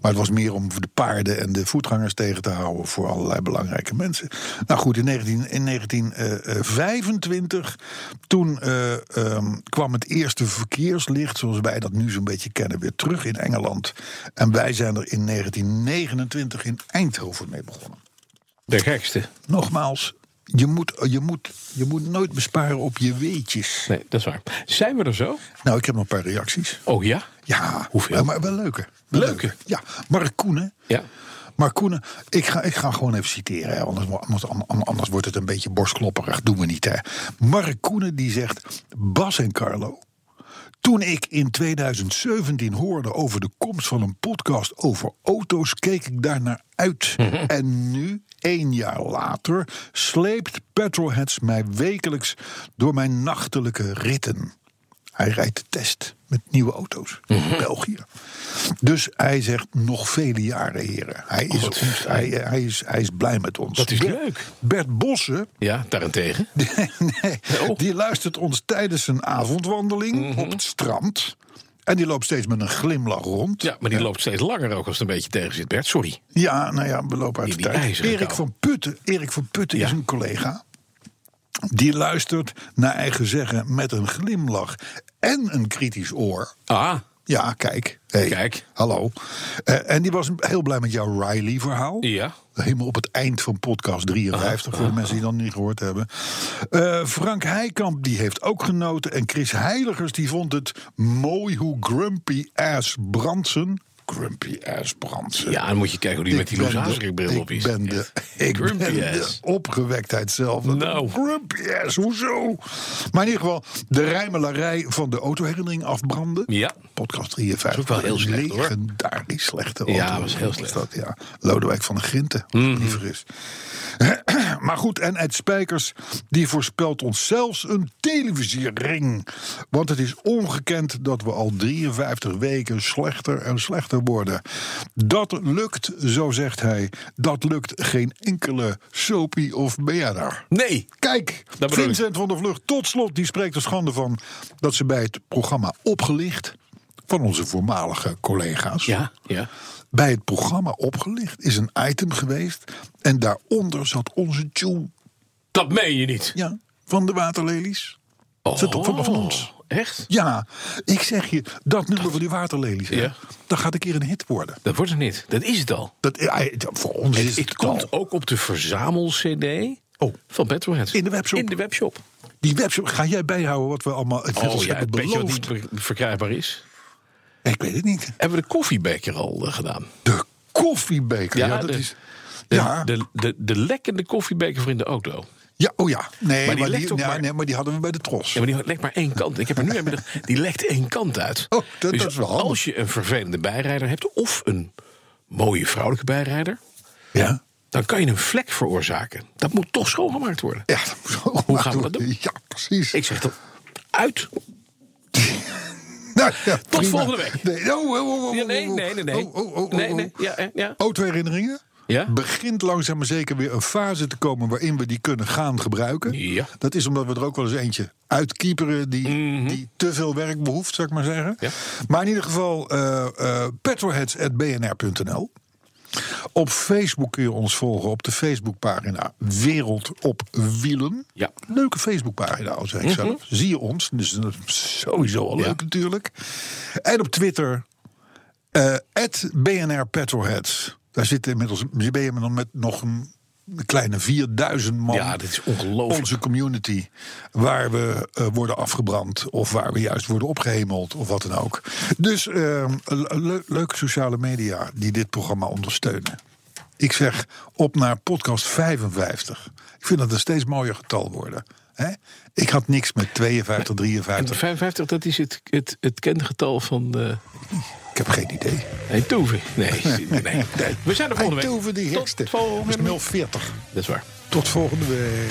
Speaker 3: Maar het was meer om de paarden en de voetgangers tegen te houden voor allerlei belangrijke mensen. Nou goed, in 19, in 1925 toen eh, ehm, kwam het eerste verkeerslicht, zoals wij dat nu zo'n beetje kennen, weer terug in Engeland. En wij zijn er in 1929 in Eindhoven mee begonnen
Speaker 2: De gekste.
Speaker 3: nogmaals, je moet, je, moet, je moet nooit besparen op je weetjes.
Speaker 2: Nee, dat is waar. Zijn we er zo?
Speaker 3: Nou, ik heb nog een paar reacties.
Speaker 2: Oh ja?
Speaker 3: Ja,
Speaker 2: Hoeveel?
Speaker 3: eh, Maar wel leuke. Wel
Speaker 2: Leuke?
Speaker 3: Ja, Mark Koenen.
Speaker 2: Ja.
Speaker 3: Mark Koenen, ik ga, ik ga gewoon even citeren, hè, anders, anders, anders wordt het een beetje borstklopperig. Doen we niet, hè. Mark Koenen die zegt, Bas en Carlo... Toen ik in 2017 hoorde over de komst van een podcast over auto's, keek ik daarnaar uit.
Speaker 2: Mhm.
Speaker 3: En nu, één jaar later, sleept Petrolheads mij wekelijks door mijn nachtelijke ritten. Hij rijdt de test met nieuwe auto's
Speaker 2: Mhm.
Speaker 3: in België. Dus hij zegt nog vele jaren, heren. Hij is, ons, hij, hij is, hij is blij met ons.
Speaker 2: Oh, Dat is
Speaker 3: Bert-
Speaker 2: leuk.
Speaker 3: Bert Bossen,
Speaker 2: Ja, daarentegen.
Speaker 3: Dus- nee,
Speaker 2: Oh. Mhm.
Speaker 3: die luistert ons tijdens een avondwandeling op het strand. En die loopt steeds met een glimlach rond.
Speaker 2: Ja, maar die loopt steeds langer ook als het een beetje tegen zit, Bert. Sorry.
Speaker 3: Ja, nou ja, we lopen uit
Speaker 2: Die-
Speaker 3: de
Speaker 2: die
Speaker 3: tijd.
Speaker 2: ijzeren
Speaker 3: Erik
Speaker 2: kou.
Speaker 3: van Putten, Erik van Putten
Speaker 2: Ja.
Speaker 3: is een collega. Die luistert naar eigen zeggen met een glimlach en een kritisch oor.
Speaker 2: Ah,
Speaker 3: Ja, kijk. Hey,
Speaker 2: Kijk.
Speaker 3: Hallo. Eh, en die was heel blij met jouw Riley-verhaal.
Speaker 2: ja.
Speaker 3: Helemaal op het eind van podcast 53,
Speaker 2: Ah.
Speaker 3: voor de mensen die dat niet gehoord hebben. Eh, Frank Heikamp, die heeft ook genoten. En Chris Heiligers, die vond het mooi hoe Grumpy Ass Bransen... Grumpy Ass Bransen.
Speaker 2: Ja, dan moet je kijken hoe die met die
Speaker 3: Ik
Speaker 2: Loes
Speaker 3: ben de-
Speaker 2: Hazerikbril op is.
Speaker 3: Ik ben de, ik
Speaker 2: Grumpy
Speaker 3: ben de
Speaker 2: ass.
Speaker 3: opgewektheid zelf. Dat-
Speaker 2: Nou.
Speaker 3: Grumpy ass, hoezo? Maar in ieder geval, de rijmelarij van de autoherinnering afbranden.
Speaker 2: Ja.
Speaker 3: Podcast 53.
Speaker 2: Dat is ook wel heel slecht, hoor.
Speaker 3: Legendarisch slechte
Speaker 2: Ja,
Speaker 3: auto.
Speaker 2: was heel slecht. Mhm.
Speaker 3: Dat, ja. Lodewijk van de Grinten, liever is. maar goed, en Ed Spijkers, die voorspelt ons zelfs een televisiering. Want het is ongekend dat we al 53 weken slechter en slechter worden. Dat lukt, zo zegt hij, dat lukt geen enkele soapie of BNR.
Speaker 2: Nee.
Speaker 3: Kijk,
Speaker 2: Dat bedoel ik.
Speaker 3: Vincent van der Vlucht, tot slot, die spreekt er schande van dat ze bij het programma Opgelicht van onze voormalige collega's.
Speaker 2: Ja, ja.
Speaker 3: Bij het programma Opgelicht is een item geweest en daaronder zat onze tune
Speaker 2: Dat meen je niet.
Speaker 3: ja, van de Waterlelies. Zit op van, van ons.
Speaker 2: Oh, Echt?
Speaker 3: Ja, ik zeg je, dat nummer van die Waterlelies, hè,
Speaker 2: Ja.
Speaker 3: dat gaat een keer een hit worden.
Speaker 2: Dat wordt het niet. Dat is het al.
Speaker 3: Dat, eh, eh, voor ons is
Speaker 2: Het,
Speaker 3: het
Speaker 2: het komt
Speaker 3: al.
Speaker 2: ook op de verzamel-cd
Speaker 3: Oh.
Speaker 2: van Petrolheads.
Speaker 3: In de webshop.
Speaker 2: In de webshop.
Speaker 3: Die webshop, ga jij bijhouden wat we allemaal het
Speaker 2: Oh ja, het
Speaker 3: hebben
Speaker 2: beetje wat niet
Speaker 3: beloofd?
Speaker 2: ver- verkrijgbaar is.
Speaker 3: Ik weet het niet.
Speaker 2: Hebben we de koffiebeker al eh, gedaan?
Speaker 3: De koffiebeker. Ja,
Speaker 2: Ja,
Speaker 3: dat
Speaker 2: de-
Speaker 3: is.
Speaker 2: De,
Speaker 3: ja.
Speaker 2: de, de, de lekkende koffiebeker voor in de auto.
Speaker 3: ja, oh ja. Nee maar,
Speaker 2: die
Speaker 3: die,
Speaker 2: lekt ook
Speaker 3: ja,
Speaker 2: maar-
Speaker 3: nee, maar die hadden we bij de tros.
Speaker 2: Ja, maar die lekt maar één kant. Ik heb er nu aan bedacht, die lekt één kant uit.
Speaker 3: Oh, dat-
Speaker 2: dus
Speaker 3: dat is wel handig.
Speaker 2: Als je een vervelende bijrijder hebt, of een mooie vrouwelijke bijrijder,
Speaker 3: Ja.
Speaker 2: dan kan je een vlek veroorzaken. Dat moet toch schoongemaakt worden.
Speaker 3: Ja, dat moet ook
Speaker 2: Hoe
Speaker 3: maar
Speaker 2: gaan we dat doen?
Speaker 3: Ja, precies.
Speaker 2: Ik zeg dan uit.
Speaker 3: Nou, ja, prima.
Speaker 2: volgende week.
Speaker 3: Nee, oh, oh, oh, oh,
Speaker 2: Ja, nee,
Speaker 3: oh,
Speaker 2: nee, nee, nee.
Speaker 3: Oh, oh, oh,
Speaker 2: Nee,
Speaker 3: oh,
Speaker 2: nee,
Speaker 3: oh.
Speaker 2: ja, hè, ja.
Speaker 3: Autoherinneringen.
Speaker 2: Ja?
Speaker 3: Begint langzaam maar zeker weer een fase te komen waarin we die kunnen gaan gebruiken.
Speaker 2: Ja. Mhm.
Speaker 3: Dat is omdat we er ook wel eens eentje uitkieperen die, die te veel werk behoeft, zou ik maar zeggen.
Speaker 2: Ja.
Speaker 3: Maar in ieder geval eh eh petrolheads.bnr.nl. Op Facebook kun je ons volgen op de Facebookpagina Wereld op Wielen.
Speaker 2: Ja. Mhm.
Speaker 3: Leuke Facebookpagina, al zeg ik zelf. Zie je ons, dus dat is sowieso al
Speaker 2: Ja.
Speaker 3: leuk natuurlijk. En op Twitter, eh BNR Petrolheads. Daar zitten inmiddels, ben je met nog een kleine 4000 man.
Speaker 2: Ja, dit is ongelooflijk.
Speaker 3: Onze community, waar we eh, worden afgebrand... of waar we juist worden opgehemeld, of wat dan ook. Dus eh, le- le- leuke sociale media die dit programma ondersteunen. Ik zeg op naar podcast 55. Ik vind dat een steeds mooier getal worden. Hè? Ik had niks met 52,
Speaker 2: En de
Speaker 3: 53.
Speaker 2: 55, dat is het, het, het kengetal van de
Speaker 3: heb geen idee.
Speaker 2: Nee, Toeven. eh, Nee, nee, nee. We zijn er
Speaker 3: Hij
Speaker 2: volgende week.
Speaker 3: tover die
Speaker 2: Tot
Speaker 3: hekste.
Speaker 2: volgende
Speaker 3: Dat
Speaker 2: week.
Speaker 3: is 040.
Speaker 2: Dat is waar.
Speaker 3: Tot volgende week.